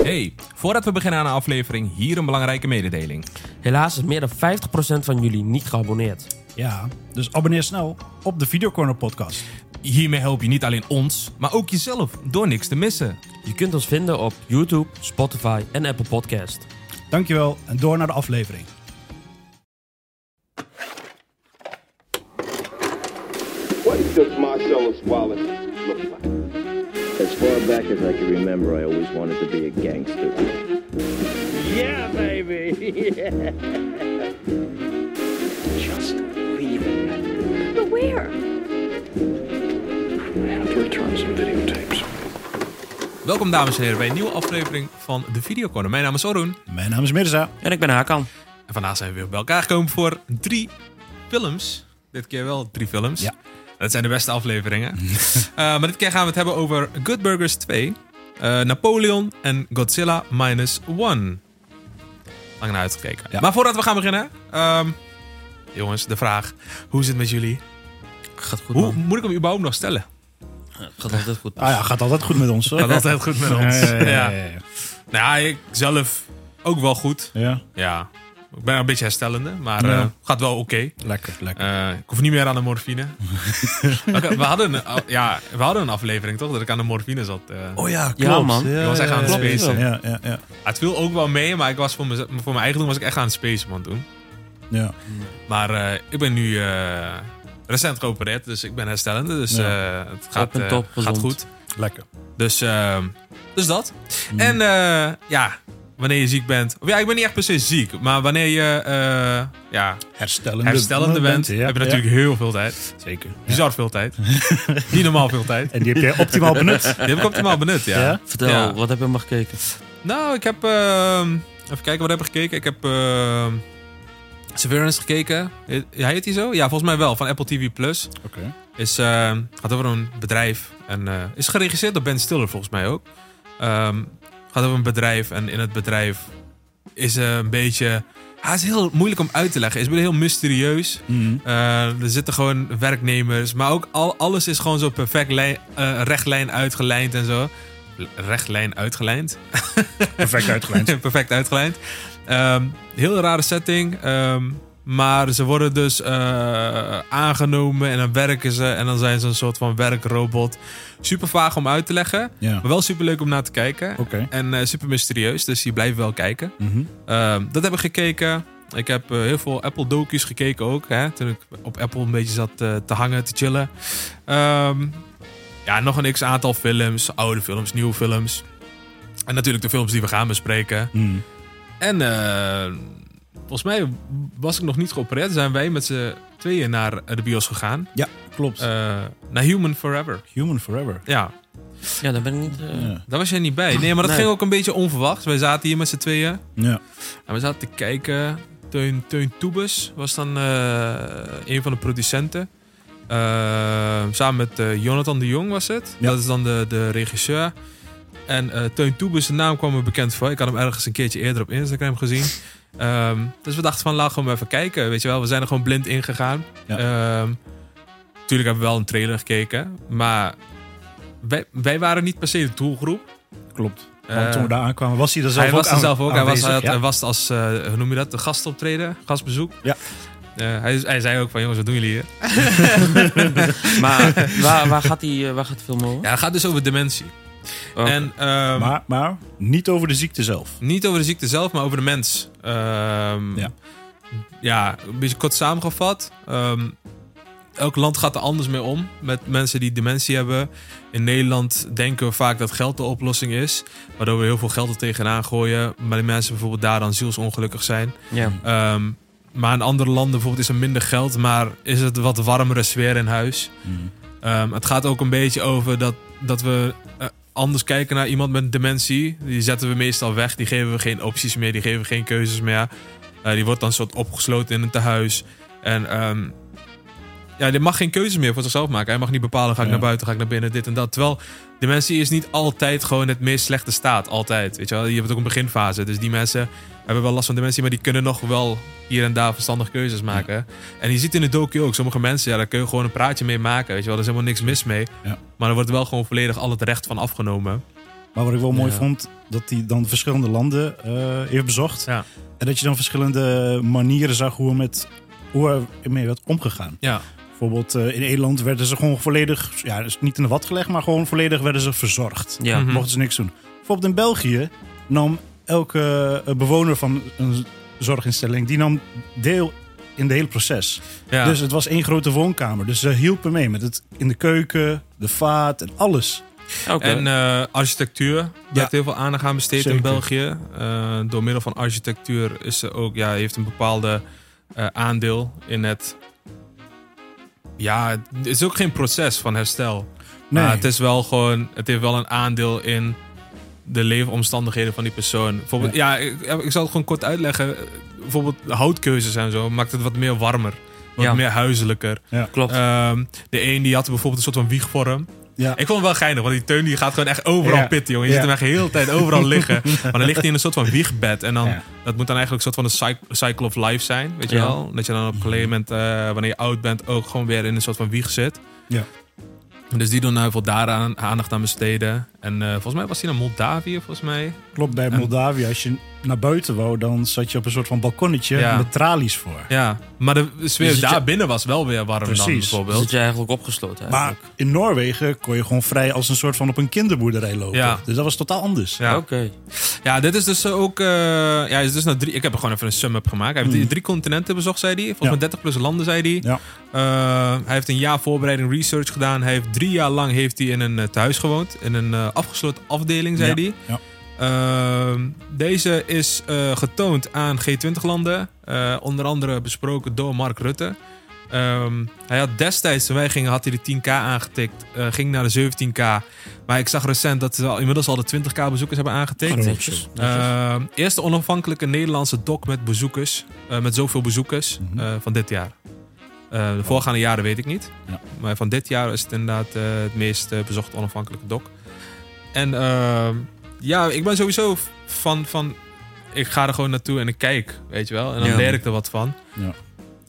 Hey, voordat we beginnen aan de aflevering, hier een belangrijke mededeling. Helaas is meer dan 50% van jullie niet geabonneerd. Ja, dus abonneer snel op de Videocorner podcast. Hiermee help je niet alleen ons, maar ook jezelf door niks te missen. Je kunt ons vinden op YouTube, Spotify en Apple Podcast. Dankjewel en door naar de aflevering. What does Marcellus Wallace look like? As far back as I can remember, I always wanted to be a gangster. Yeah, baby. Just leave it. But where? I have to return some videotapes. Welkom dames en heren bij een nieuwe aflevering van de Videocorner. Mijn naam is Oroen Mijn naam is Mirza. En ik ben Hakan. en vandaag zijn we weer bij elkaar gekomen voor drie films. Dit keer wel drie films. Ja. Dat zijn de beste afleveringen. Eh, maar dit keer gaan we het hebben over Good Burgers 2, eh, Napoleon en Godzilla Minus One. Lang naar uitgekeken. Ja. Maar voordat we gaan beginnen, ehm, jongens, de vraag: hoe is het met jullie? Gaat goed, Hoe man. moet ik hem überhaupt nog stellen? Gaat altijd goed. Ah ja, gaat altijd goed met ons. hoor. Gaat altijd goed met ons. Ja, ja, ja, Ja. ja, ja. Nou, ja, ik zelf ook wel goed. Ja, Ja, ik ben een beetje herstellende, maar Ja. eh, gaat wel oké. lekker, lekker. Eh, ik hoef niet meer aan de morfine. Oké, we, hadden een, af- ja, we hadden een aflevering toch, dat ik aan de morfine zat. eh. oh ja, klopt. man. Ja, Je was echt aan het ja, ja, spacen. Ja, ja, ja. Het viel ook wel mee, maar ik was voor, mez- voor mijn eigen doen was ik echt aan het spacen man toen. ja. Maar eh, ik ben nu eh, recent geopereerd, dus ik ben herstellende. Dus eh, het gaat, en eh, top, gaat gezond. goed. Lekker. Dus, ehm, dus dat. Mm. En eh, ja, wanneer je ziek bent. Of ja, ik ben niet echt per se ziek. Maar wanneer je eh, ja, Herstellende, herstellende bent, ja, heb je ja. natuurlijk heel veel tijd. Zeker. Bizar veel tijd. niet normaal veel tijd. En die heb jij optimaal benut. Die heb ik optimaal benut, ja. Ja? Vertel, Ja. wat heb je maar gekeken? Nou, ik heb... ehm, even kijken, wat heb ik gekeken? Ik heb ehm Severance gekeken. Heet- Ja, heet die zo? Ja, volgens mij wel. Van Apple TV+. Plus. Oké. Is, ehm gaat over een bedrijf. En eh, is geregisseerd door Ben Stiller, volgens mij ook. Ehm, gaat over een bedrijf. En in het bedrijf is eh, een beetje... Hij is heel moeilijk om uit te leggen. Is heel mysterieus. Mhm. Eh, er zitten gewoon werknemers. Maar ook al, alles is gewoon zo perfect lijn, eh, rechtlijn uitgelijnd en zo. L- Rechtlijn uitgelijnd. Perfect uitgelijnd. perfect uitgelijnd. Ehm, heel rare setting. ehm, maar ze worden dus eh, aangenomen en dan werken ze. En dan zijn ze een soort van werkrobot. Super vaag om uit te leggen. Ja. Maar wel super leuk om naar te kijken. Oké. En eh, super mysterieus. Dus je blijft wel kijken. Mhm. Ehm, dat heb ik gekeken. Ik heb eh, heel veel Apple docu's gekeken ook. Hè, toen ik op Apple een beetje zat eh, te hangen, te chillen. Ehm, ja, nog een x aantal films. Oude films, nieuwe films. En natuurlijk de films die we gaan bespreken. Mhm. En eh, volgens mij was ik nog niet geopereerd. Zijn wij met z'n tweeën naar eh, de bios gegaan. Ja, klopt. Eh, naar Human Forever. Human Forever. Ja, Ja, daar ben ik niet... eh, Ja. daar was jij niet bij. Nee, maar dat Nee. ging ook een beetje onverwacht. Wij zaten hier met z'n tweeën. Ja. En we zaten te kijken. Teun, Teun Toebes was dan eh, een van de producenten. Eh, samen met eh, Jonathan de Jong was het. Ja. Dat is dan de, de regisseur. En eh, Teun Toebes, de naam kwam me bekend voor. Ik had hem ergens een keertje eerder op Instagram gezien. Ehm, dus we dachten van, laten we hem even kijken. Weet je wel, we zijn er gewoon blind in gegaan. Ja. Ehm, tuurlijk hebben we wel een trailer gekeken. Maar wij, wij waren niet per se de doelgroep. Klopt. Want Eh, toen we daar aankwamen, was hij er zelf hij ook was er aan- zelf ook. Hij was, aanwezig, hij had- ja? hij was als, eh, hoe noem je dat, de gastoptreden, gastbezoek. Ja. Eh, hij, hij zei ook van, jongens, wat doen jullie hier? Maar waar, waar, gaat die, eh, waar gaat de film over? Ja, het gaat dus over dementie. Oh, En ehm, Maar, maar niet over de ziekte zelf. niet over de ziekte zelf, maar over de mens. Ehm, Ja. ja, een beetje kort samengevat. Ehm, elk land gaat er anders mee om met mensen die dementie hebben. In Nederland denken we vaak dat geld de oplossing is. Waardoor we heel veel geld er tegenaan gooien. Maar die mensen bijvoorbeeld daar dan zielsongelukkig zijn. ja. Ehm, maar in andere landen bijvoorbeeld is er minder geld, maar is het wat warmere sfeer in huis. Ehm, het gaat ook een beetje over dat, dat we eh, anders kijken naar iemand met dementie. Die zetten we meestal weg, die geven we geen opties meer, die geven we geen keuzes meer. Eh, die wordt dan soort opgesloten in een tehuis. En ehm, ja, die mag geen keuzes meer voor zichzelf maken. Hij mag niet bepalen, ga ik Ja. naar buiten, ga ik naar binnen, dit en dat. Terwijl dementie is niet altijd gewoon het meest slechte staat, altijd. Weet je, wel? je hebt ook een beginfase, dus die mensen hebben wel last van dementie, maar die kunnen nog wel hier en daar verstandige keuzes maken. En je ziet in de docu ook, sommige mensen, ja, daar kun je gewoon een praatje mee maken. Weet je wel, er is helemaal niks mis mee. Ja. Maar er wordt wel gewoon volledig al het recht van afgenomen. Maar wat ik wel mooi Ja. vond, dat hij dan verschillende landen eh, heeft bezocht. Ja. En dat je dan verschillende manieren zag hoe er met hoe er ermee werd omgegaan. Ja, Bijvoorbeeld eh, in Nederland werden ze gewoon volledig, ja, dus niet in de wat gelegd, maar gewoon volledig werden ze verzorgd. Ja. Mhm. Mochten ze niks doen. Bijvoorbeeld in België nam elke eh, bewoner van een zorginstelling, die nam deel in het hele proces. ja. Dus het was één grote woonkamer. Dus ze hielpen mee met het in de keuken, de vaat en alles. Oké. Dus En eh, architectuur, daar heeft heel veel aandacht aan besteed Zeker. in België. Eh, door middel van architectuur is ze ook, ja, heeft een bepaalde eh, aandeel in het... Ja, het is ook geen proces van herstel. Nee. Maar het is wel gewoon, het heeft wel een aandeel in de leefomstandigheden van die persoon. Bijvoorbeeld, ja, ik, ja, ik zal het gewoon kort uitleggen. Bijvoorbeeld houtkeuzes en zo maakt het wat meer warmer. Wat Ja. meer huiselijker. Klopt. Ehm, de een die had bijvoorbeeld een soort van wiegvorm. Ja. Ik vond hem wel geinig, want die teun die gaat gewoon echt overal Ja. pitten, jongen. Je Ja. ziet hem echt de hele tijd overal liggen. Maar dan ligt hij in een soort van wiegbed. En dan, Ja. dat moet dan eigenlijk een soort van een cyc- cycle of life zijn, weet je Ja. wel? Dat je dan op een gegeven moment, eh, wanneer je oud bent, ook gewoon weer in een soort van wieg zit. Ja. Dus die doen nou heel veel daar aan- aandacht aan besteden. En eh, volgens mij was hij naar Moldavië, volgens mij. Klopt, bij Moldavië, als je naar buiten wou, dan zat je op een soort van balkonnetje Ja. met tralies voor. Ja, maar de sfeer Dus het daar je- binnen was wel weer warm dan, Precies. bijvoorbeeld. Zit je eigenlijk opgesloten? Maar eigenlijk? in Noorwegen kon je gewoon vrij als een soort van op een kinderboerderij lopen. Ja. Dus dat was totaal anders. Ja. Oké. Ja, dit is dus ook. eh, ja, hij is dus naar drie, ik heb er gewoon even een sum-up gemaakt. Hij heeft Hmm. drie- drie continenten bezocht, zei hij. Volgens Ja. mij 30 plus landen, zei hij. Ja. Eh, hij heeft een jaar voorbereiding research gedaan. Hij heeft drie jaar lang heeft hij in een eh, tehuis gewoond. In een eh, afgesloten afdeling, zei Ja, hij. ja. Ehm, deze is eh, getoond aan G20-landen. Eh, onder andere besproken door Mark Rutte. Ehm, hij had destijds, toen wij gingen, had hij de 10k aangetikt. eh, ging naar de 17k. Maar ik zag recent dat ze al, inmiddels al de 20k bezoekers hebben aangetikt. Groot. Netjes. Netjes. Eh, eerste onafhankelijke Nederlandse doc met bezoekers. eh, met zoveel bezoekers Mhm. eh, van dit jaar. Eh, de voorgaande jaren weet ik niet. Ja. Maar van dit jaar is het inderdaad eh, het meest eh, bezochte onafhankelijke doc. En eh, ja, ik ben sowieso van, van... Ik ga er gewoon naartoe en ik kijk, weet je wel. En dan Ja. leer ik er wat van. Ja.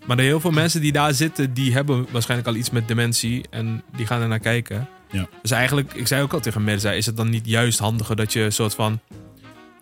Maar er heel veel mensen die daar zitten, die hebben waarschijnlijk al iets met dementie. En die gaan er naar kijken. Ja. Dus eigenlijk, ik zei ook al tegen Mirza, is het dan niet juist handiger dat je een soort van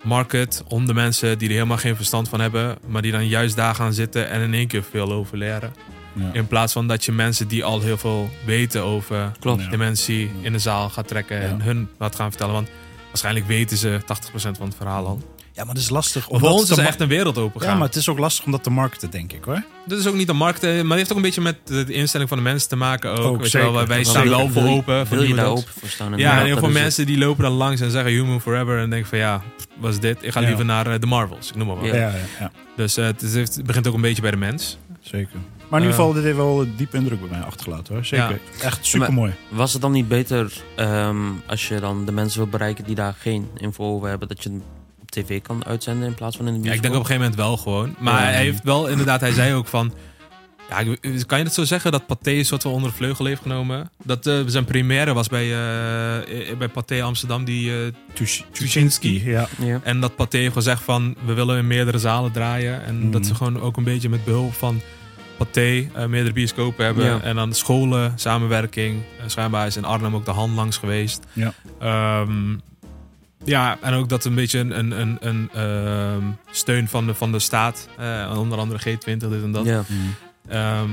market om de mensen die er helemaal geen verstand van hebben, maar die dan juist daar gaan zitten en in één keer veel over leren. Ja. In plaats van dat je mensen die al heel veel weten over Klopt. Ja. dementie in de zaal gaat trekken en Ja. hun wat gaan vertellen. Want waarschijnlijk weten ze 80% van het verhaal al. Ja, maar dat is lastig. Voor omdat ons is de er ma- echt een wereld open ja, gaan. maar het is ook lastig om dat te markten, denk ik hoor. Dit is ook niet een markt, eh, maar het heeft ook een beetje met de de instelling van de mensen te maken. Ook, Ook weet je wel, zeker. wij Dat staan zeker. wel voor Wil je- open. voor Wil je nieuwe daar docs. open voor staan? Ja, en heel dat veel is het. mensen die lopen daar langs en zeggen Human Forever. En denken van ja, pff, wat is dit? Ik ga Ja. liever naar eh, de Marvels, ik noem maar wat. Ja. Ja, ja, ja, Dus eh, het, is- het begint ook een beetje bij de mens. zeker. Maar in ieder Eh. geval, dit heeft wel een diepe indruk bij mij achtergelaten hoor. Zeker. Echt super mooi. Was het dan niet beter ehm, als je dan de mensen wil bereiken die daar geen info over hebben, dat je het op tv kan uitzenden in plaats van in de Ja, ik bioscoop? denk op een gegeven moment wel gewoon. Maar Ja. hij heeft wel inderdaad, hij zei ook van... Ja, ik- kan je het zo zeggen dat Pathé een soort van onder de vleugel heeft genomen? Dat eh, zijn première was bij, eh, eh, bij Pathé Amsterdam, die eh, Tuschinski. Ja. Ja. En dat Pathé heeft gezegd van, we willen in meerdere zalen draaien. En Mhm. dat ze gewoon ook een beetje met behulp van Pathé eh, meerdere bioscopen hebben. Ja. En dan scholen, samenwerking. Eh, schijnbaar is in Arnhem ook de hand langs geweest. Ja. Ehm, ja, en ook dat een beetje een, een, een, een, ehm, steun van de, van de staat, eh, onder andere G20, dit en dat, Ja. ehm,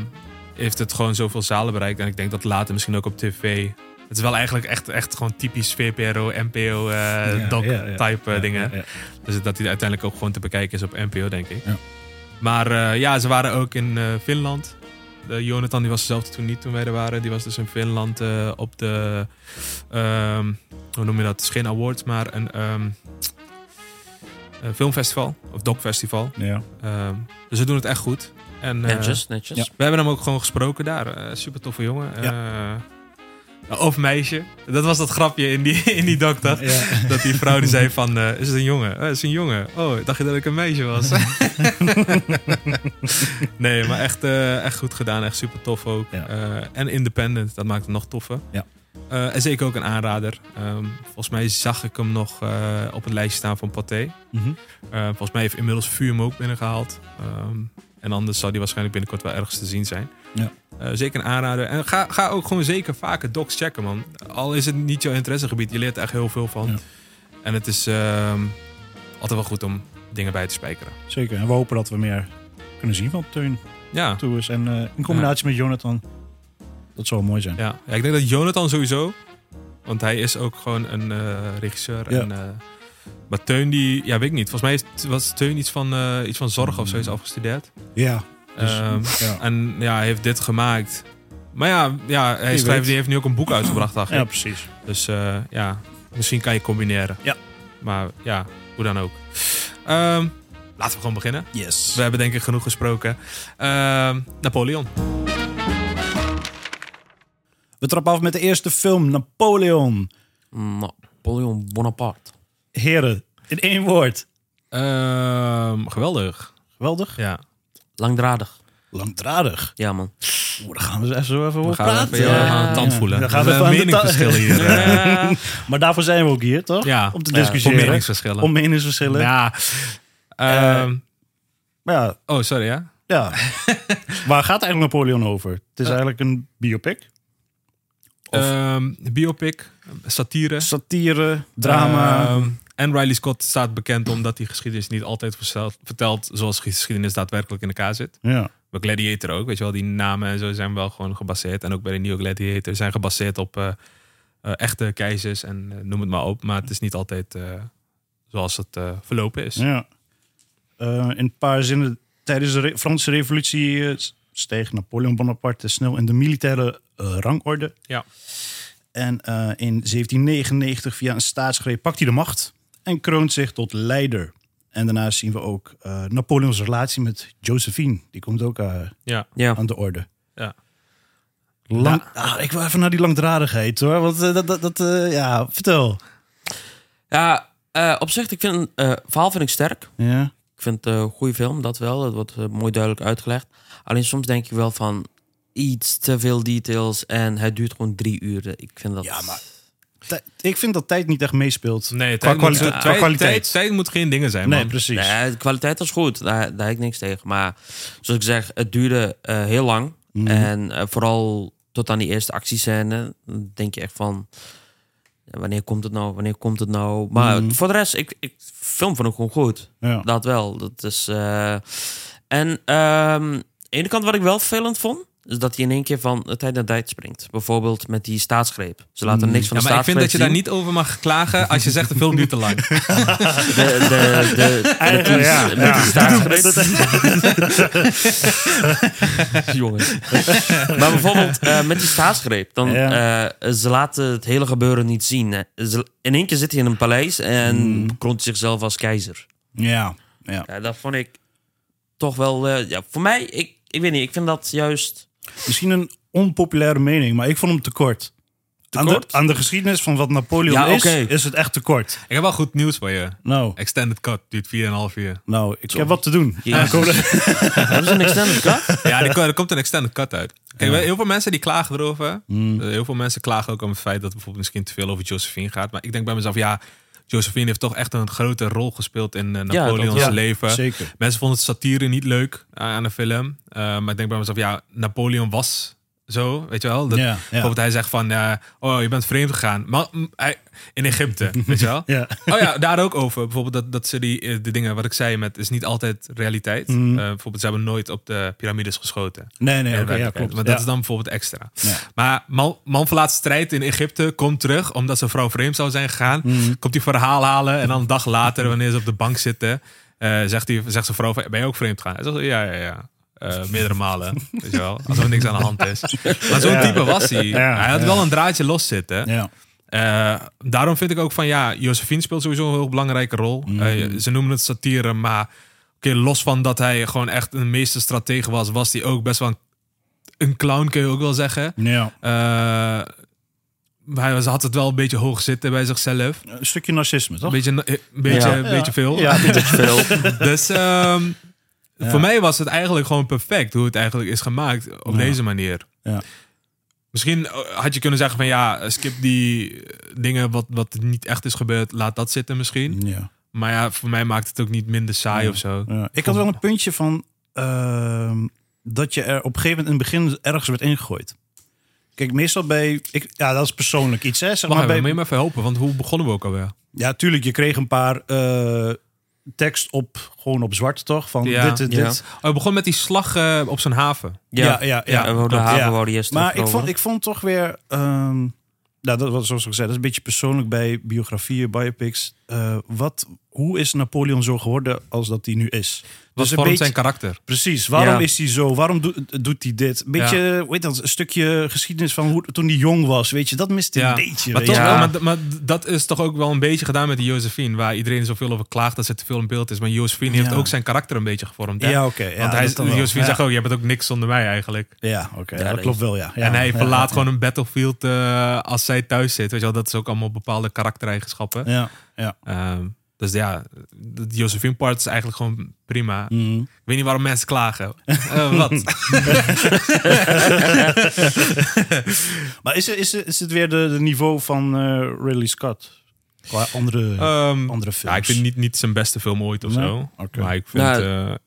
heeft het gewoon zoveel zalen bereikt. En ik denk dat later misschien ook op tv. Het is wel eigenlijk echt, echt gewoon typisch VPRO, NPO, eh Ja, doc ja, ja. type Ja, dingen. ja, ja. Dus dat hij uiteindelijk ook gewoon te bekijken is op NPO, denk ik. Ja. Maar eh, ja, ze waren ook in eh, Finland. De Jonathan die was zelf toen niet toen wij er waren. Die was dus in Finland eh, op de... ehm, hoe noem je dat? Het is geen awards, maar een, ehm, een filmfestival. Of docfestival. Ja. Ehm, dus ze doen het echt goed. En, eh, Netjes, netjes. ja. we hebben hem ook gewoon gesproken daar. Eh, super toffe jongen. Eh, of meisje. Dat was dat grapje in die, in die doc, toch? Ja. Dat die vrouw die zei van, eh, is het een jongen? Oh, het is een jongen. Oh, dacht je dat ik een meisje was? nee, maar echt, eh, echt goed gedaan. Echt super tof ook. Ja. Eh, en independent, dat maakt het nog toffer. Ja. Eh, en zeker ook een aanrader. Ehm, volgens mij zag ik hem nog eh, op het lijstje staan van Pathé. Mhm. Eh, volgens mij heeft inmiddels Vuur hem ook binnengehaald. Ehm, en anders zal die waarschijnlijk binnenkort wel ergens te zien zijn. Ja. Eh, zeker een aanrader. En ga, ga ook gewoon zeker vaker docs checken, man. Al is het niet jouw interessegebied, je leert er echt heel veel van. Ja. En het is ehm, altijd wel goed om dingen bij te spijkeren. Zeker. En we hopen dat we meer kunnen zien van Teun Ja, Tours. En eh, in combinatie met Jonathan, dat zou mooi zijn. ja. ja, ik denk dat Jonathan sowieso, want hij is ook gewoon een eh, regisseur. Ja. En, eh, maar Teun, die, ja, weet ik niet. Volgens mij heeft- was Teun iets van, eh, iets van zorg of zo is afgestudeerd. Ja. Dus, Ehm, ja. En ja, hij heeft dit gemaakt. Maar ja, ja hij Wie schrijft, weet. die heeft nu ook een boek uitgebracht, dacht ja, ik. precies. Dus eh, ja, misschien kan je combineren. Ja. Maar ja, hoe dan ook. Ehm, laten we gewoon beginnen. Yes. We hebben denk ik genoeg gesproken. Ehm, Napoleon. We trappen af met de eerste film, Napoleon. Napoleon Bonaparte. Heren, in één woord. Ehm, geweldig. Geweldig. Ja. Langdradig. Langdradig. Ja, man. Oeh, daar gaan we eens even over gaan we praten. even, ja, we gaan het tand voelen. Dan gaan we Er even zijn aan de ta- meningsverschillen hier. Ja. Maar daarvoor zijn we ook hier, toch? Ja. Om te Ja, Voor discussiëren. meningsverschillen. Om meningsverschillen. Ja. Ehm, Maar ja, oh, sorry ja. ja. waar gaat eigenlijk Napoleon over? Het is Eh. eigenlijk een biopic. Of- Ehm, biopic, satire. Satire, drama. Ehm, en Riley Scott staat bekend omdat hij geschiedenis niet altijd verstelt- vertelt zoals geschiedenis daadwerkelijk in elkaar zit. ja. Bij Gladiator ook, weet je wel, die namen en zo zijn wel gewoon gebaseerd. En ook bij de nieuwe Gladiator zijn gebaseerd op eh, eh, echte keizers en eh, noem het maar op. Maar het is niet altijd eh, zoals het eh, verlopen is. Ja. Eh, in een paar zinnen. Tijdens de re- Franse Revolutie eh, s- steeg Napoleon Bonaparte snel in de militaire eh, rangorde. Ja. En eh, in 1799, via een staatsgreep, pakt hij de macht en kroont zich tot leider. En daarna zien we ook eh, Napoleons relatie met Josephine. Die komt ook eh, Ja. Ja. aan de orde. Ja. Lang, ah, ik wil even naar die langdradigheid hoor. Want eh, dat, dat, dat eh, ja, vertel. Ja, eh, op zich, ik vind, eh verhaal vind ik sterk. Ja. Ik vind het eh, een goede film, dat wel. Dat wordt eh, mooi duidelijk uitgelegd. Alleen soms denk ik wel van iets te veel details en het duurt gewoon drie uur. Ik vind dat... Ja, maar- Tij- ik vind dat tijd niet echt meespeelt. Nee, Qua tijd, kwaliteit- moet, eh, qua tijd- kwaliteit. tijd- tijd moet geen dingen zijn, Nee, man. precies. Nee, de kwaliteit was goed, daar, daar heb ik niks tegen. Maar zoals ik zeg, het duurde eh, heel lang. Mhm. En eh, vooral tot aan die eerste actiescène dan denk je echt van... ja, Wanneer komt het nou? Wanneer komt het nou? Maar voor de rest, ik, ik film vond ik gewoon goed. Mhm. Ja. Dat wel. Dat is, eh, En ehm aan de ene kant wat ik wel vervelend vond, is dat hij in één keer van tijd naar tijd springt. Bijvoorbeeld met die staatsgreep. Ze laten Mhm. niks van Ja, de maar ik vind staatsgreep dat je daar zien. niet over mag klagen als je zegt de film duurt te lang. De, de, de, Eigenlijk, ja. met die Ja. staatsgreep. Jongens. maar bijvoorbeeld eh, met die staatsgreep. Dan, Ja. eh, ze laten het hele gebeuren niet zien. hè. Ze- in één keer zit hij in een paleis en Hmm. kroont zichzelf als keizer. Ja, ja. Ja, dat vond ik toch wel... eh, ja, voor mij, ik, ik weet niet, ik vind dat juist... Misschien een onpopulaire mening, maar ik vond hem te kort. aan, kort? De, aan de geschiedenis van wat Napoleon Ja, is, oké. is het echt te kort. ik heb wel goed nieuws voor je. Nou, Extended Cut duurt 4,5 uur. nou ik heb wat te doen. Jezus. Hebben ze een extended cut? Ja, er, ko- er komt een extended cut uit. Kijk, heel veel mensen die klagen erover. Hmm. Eh, Heel veel mensen klagen ook om het feit dat bijvoorbeeld misschien te veel over Josephine gaat. Maar ik denk bij mezelf, ja, Josephine heeft toch echt een grote rol gespeeld in eh, dat- Napoleons ja, leven. zeker. Mensen vonden het satire niet leuk eh, aan de film. Eh, maar ik denk bij mezelf, ja, Napoleon was zo, weet je wel. Dat, Ja, ja. Bijvoorbeeld hij zegt van, eh, oh, je bent vreemd gegaan. Maar, mm, hij, in Egypte, weet je wel. Ja. Oh ja, daar ook over. Bijvoorbeeld dat, dat ze die eh, de dingen wat ik zei met is niet altijd realiteit. Eh, bijvoorbeeld ze hebben nooit op de piramides geschoten. Nee, nee, Ja, oké, Mhm. ja, werkelijkheid. klopt. Maar dat Ja. is dan bijvoorbeeld extra. Ja. Maar man, man verlaat strijd in Egypte, komt terug omdat zijn vrouw vreemd zou zijn gegaan. Mhm. Komt die verhaal halen en dan een dag later, wanneer ze op de bank zitten, eh, zegt, die, zegt zijn vrouw: van, Ben je ook vreemd gegaan? Hij zegt: Ja, ja, ja. Eh, meerdere malen, weet je wel, alsof er niks aan de hand is. Maar zo'n type was hij. Ja, hij had ja. wel een draadje loszitten. Ja. Eh, daarom vind ik ook van ja, Josephine speelt sowieso een heel belangrijke rol. Eh, ze noemen het satire, maar oké, los van dat hij gewoon echt een meester stratege was, was hij ook best wel een, een clown, kun je ook wel zeggen. Ja. Eh, hij was, had het wel een beetje hoog zitten bij zichzelf. Een stukje narcisme, Een toch? beetje, een beetje, Ja. een beetje veel. Ja, Dat is veel. Dus ehm, Ja. voor mij was het eigenlijk gewoon perfect hoe het eigenlijk is gemaakt op Ja. deze manier. Ja. Misschien eh, had je kunnen zeggen van ja, skip die eh, dingen wat, wat niet echt is gebeurd, laat dat zitten misschien. Ja. Maar ja, voor mij maakt het ook niet minder saai of zo. Ja. Ik had wel een puntje van ehm, dat je er op een gegeven moment in het begin ergens werd ingegooid. Kijk, meestal bij... Ik, ja, dat is persoonlijk iets, hè. Zeg Wacht maar even, bij, moet je me even helpen? Want hoe begonnen we ook alweer? Ja, tuurlijk, je kreeg een paar eh, tekst op, gewoon op zwart, toch? Van Ja, dit, dit, ja. dit. Oh, we begonnen met die slag eh, op zijn haven. Ja, ja, ja, we wouden klopt, haven ja. wouden eerst Maar ik terugkomen. vond, ik vond toch weer... ehm, nou, dat was zoals ik zei, dat is een beetje persoonlijk bij biografieën, biopics. Eh, wat, hoe is Napoleon zo geworden als dat hij nu is? Dus Wat een vormt beetje- zijn karakter? Precies, waarom Ja. is hij zo? Waarom doet- doet hij dit? Een beetje, hoe heet dat, een stukje geschiedenis van hoe, toen hij jong was, weet je. Dat mist hij Ja. een beetje, maar, weet toch, je. Ja. wel, maar, maar dat is toch ook wel een beetje gedaan met die Josephine. Waar iedereen zoveel over klaagt dat ze te veel in beeld is. Maar Josephine heeft Ja. ook zijn karakter een beetje gevormd. Hè? Ja, oké, ja, Want hij, dat dan wel. Josephine Ja. zegt ook, je bent ook niks zonder mij eigenlijk. Ja, oké, dat, dat klopt is- wel, ja. ja en hij ja, verlaat ja. gewoon een battlefield eh, als zij thuis zit. Weet je wel, dat is ook allemaal bepaalde karaktereigenschappen. Ja, ja. Ehm, dus ja, de Josephine part is eigenlijk gewoon prima. Mhm. Ik weet niet waarom mensen klagen. Eh, wat? Maar is, er- is, er- is het weer de, de niveau van eh, Ridley Scott? Qua andere... Ehm, Andere films. Ja, ik vind niet, niet zijn beste film ooit of Nee? zo. Oké. Maar ik vind... Nou,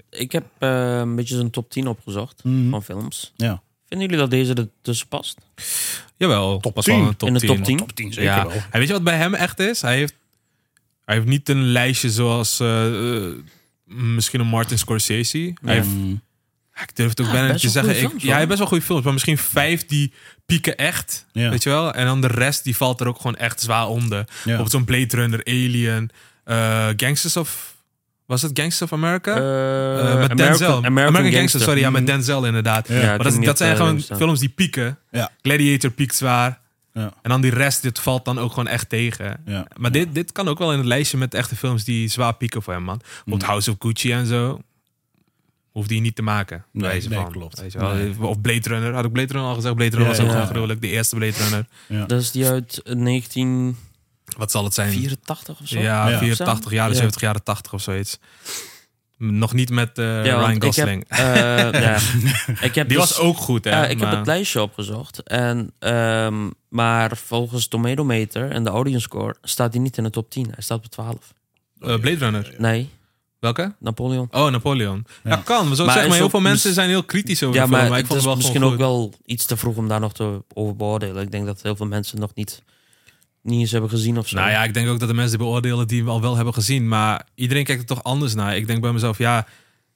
eh, Ik heb eh, een beetje zo'n top 10 opgezocht Mhm. van films. Ja. Vinden jullie dat deze ertussen past? jawel, top was 10. wel een top In de top 10? Top 10 zeker Ja. wel. En weet je wat bij hem echt is? Hij heeft, hij heeft niet een lijstje zoals eh, eh, misschien een Martin Scorsese. Hij heeft, Mm. ik durf het ook bijna niet Ah, best te zeggen. wel goede Ik, ja, films, hij hoor. heeft best wel goede films. Maar misschien vijf die pieken echt. Ja. Weet je wel? En dan de rest die valt er ook gewoon echt zwaar onder. Ja. Op zo'n Blade Runner, Alien, eh, Gangsters of... Was het Gangsters of America? Eh, Hmm. Eh, met Denzel. American, Gangster, sorry. Ja, met Mhm. Denzel inderdaad. Ja, maar dat, die dat niet, zijn eh, gewoon staan. films die pieken. Ja. Gladiator piekt zwaar. Ja. En dan die rest, dit valt dan ook gewoon echt tegen. Ja. Maar dit, dit kan ook wel in het lijstje met echte films die zwaar pieken voor hem, man. Mm. Bijvoorbeeld House of Gucci en zo. Hoeft die niet te maken. Nee, wijze nee, van. klopt. Weet je wel. Nee. Of Blade Runner. Had ik Blade Runner al gezegd? Blade Runner Ja, was ook ja, gewoon ja. gruwelijk. De eerste Blade Runner. Dat is die uit 1984 Wat zal het zijn? of zo. ja, Ja. 84 jaren, Ja. 70 jaren, 80 of zoiets. Nog niet met eh, Ja, want Ryan ik heb, Gosling. eh, ja. Ik heb Die dus- was ook goed, hè? Ja, ik maar- heb het lijstje opgezocht. En, ehm, maar volgens Tomatometer en de audience score staat hij niet in de top 10. Hij staat op 12. Eh, Blade Runner. Nee, Welke? Napoleon. Oh, Napoleon. Ja, kan. Maar zo Maar zeg maar, is heel ook veel mensen mis- zijn heel kritisch over Ja, de film. maar, Maar, ik het vond het is wel misschien gewoon ook goed. wel iets te vroeg om daar nog te over beoordelen. Ik denk dat heel veel mensen nog niet, niet eens hebben gezien of zo. Nou ja, ik denk ook dat de mensen die beoordelen die we al wel hebben gezien. Maar iedereen kijkt er toch anders naar. Ik denk bij mezelf, ja,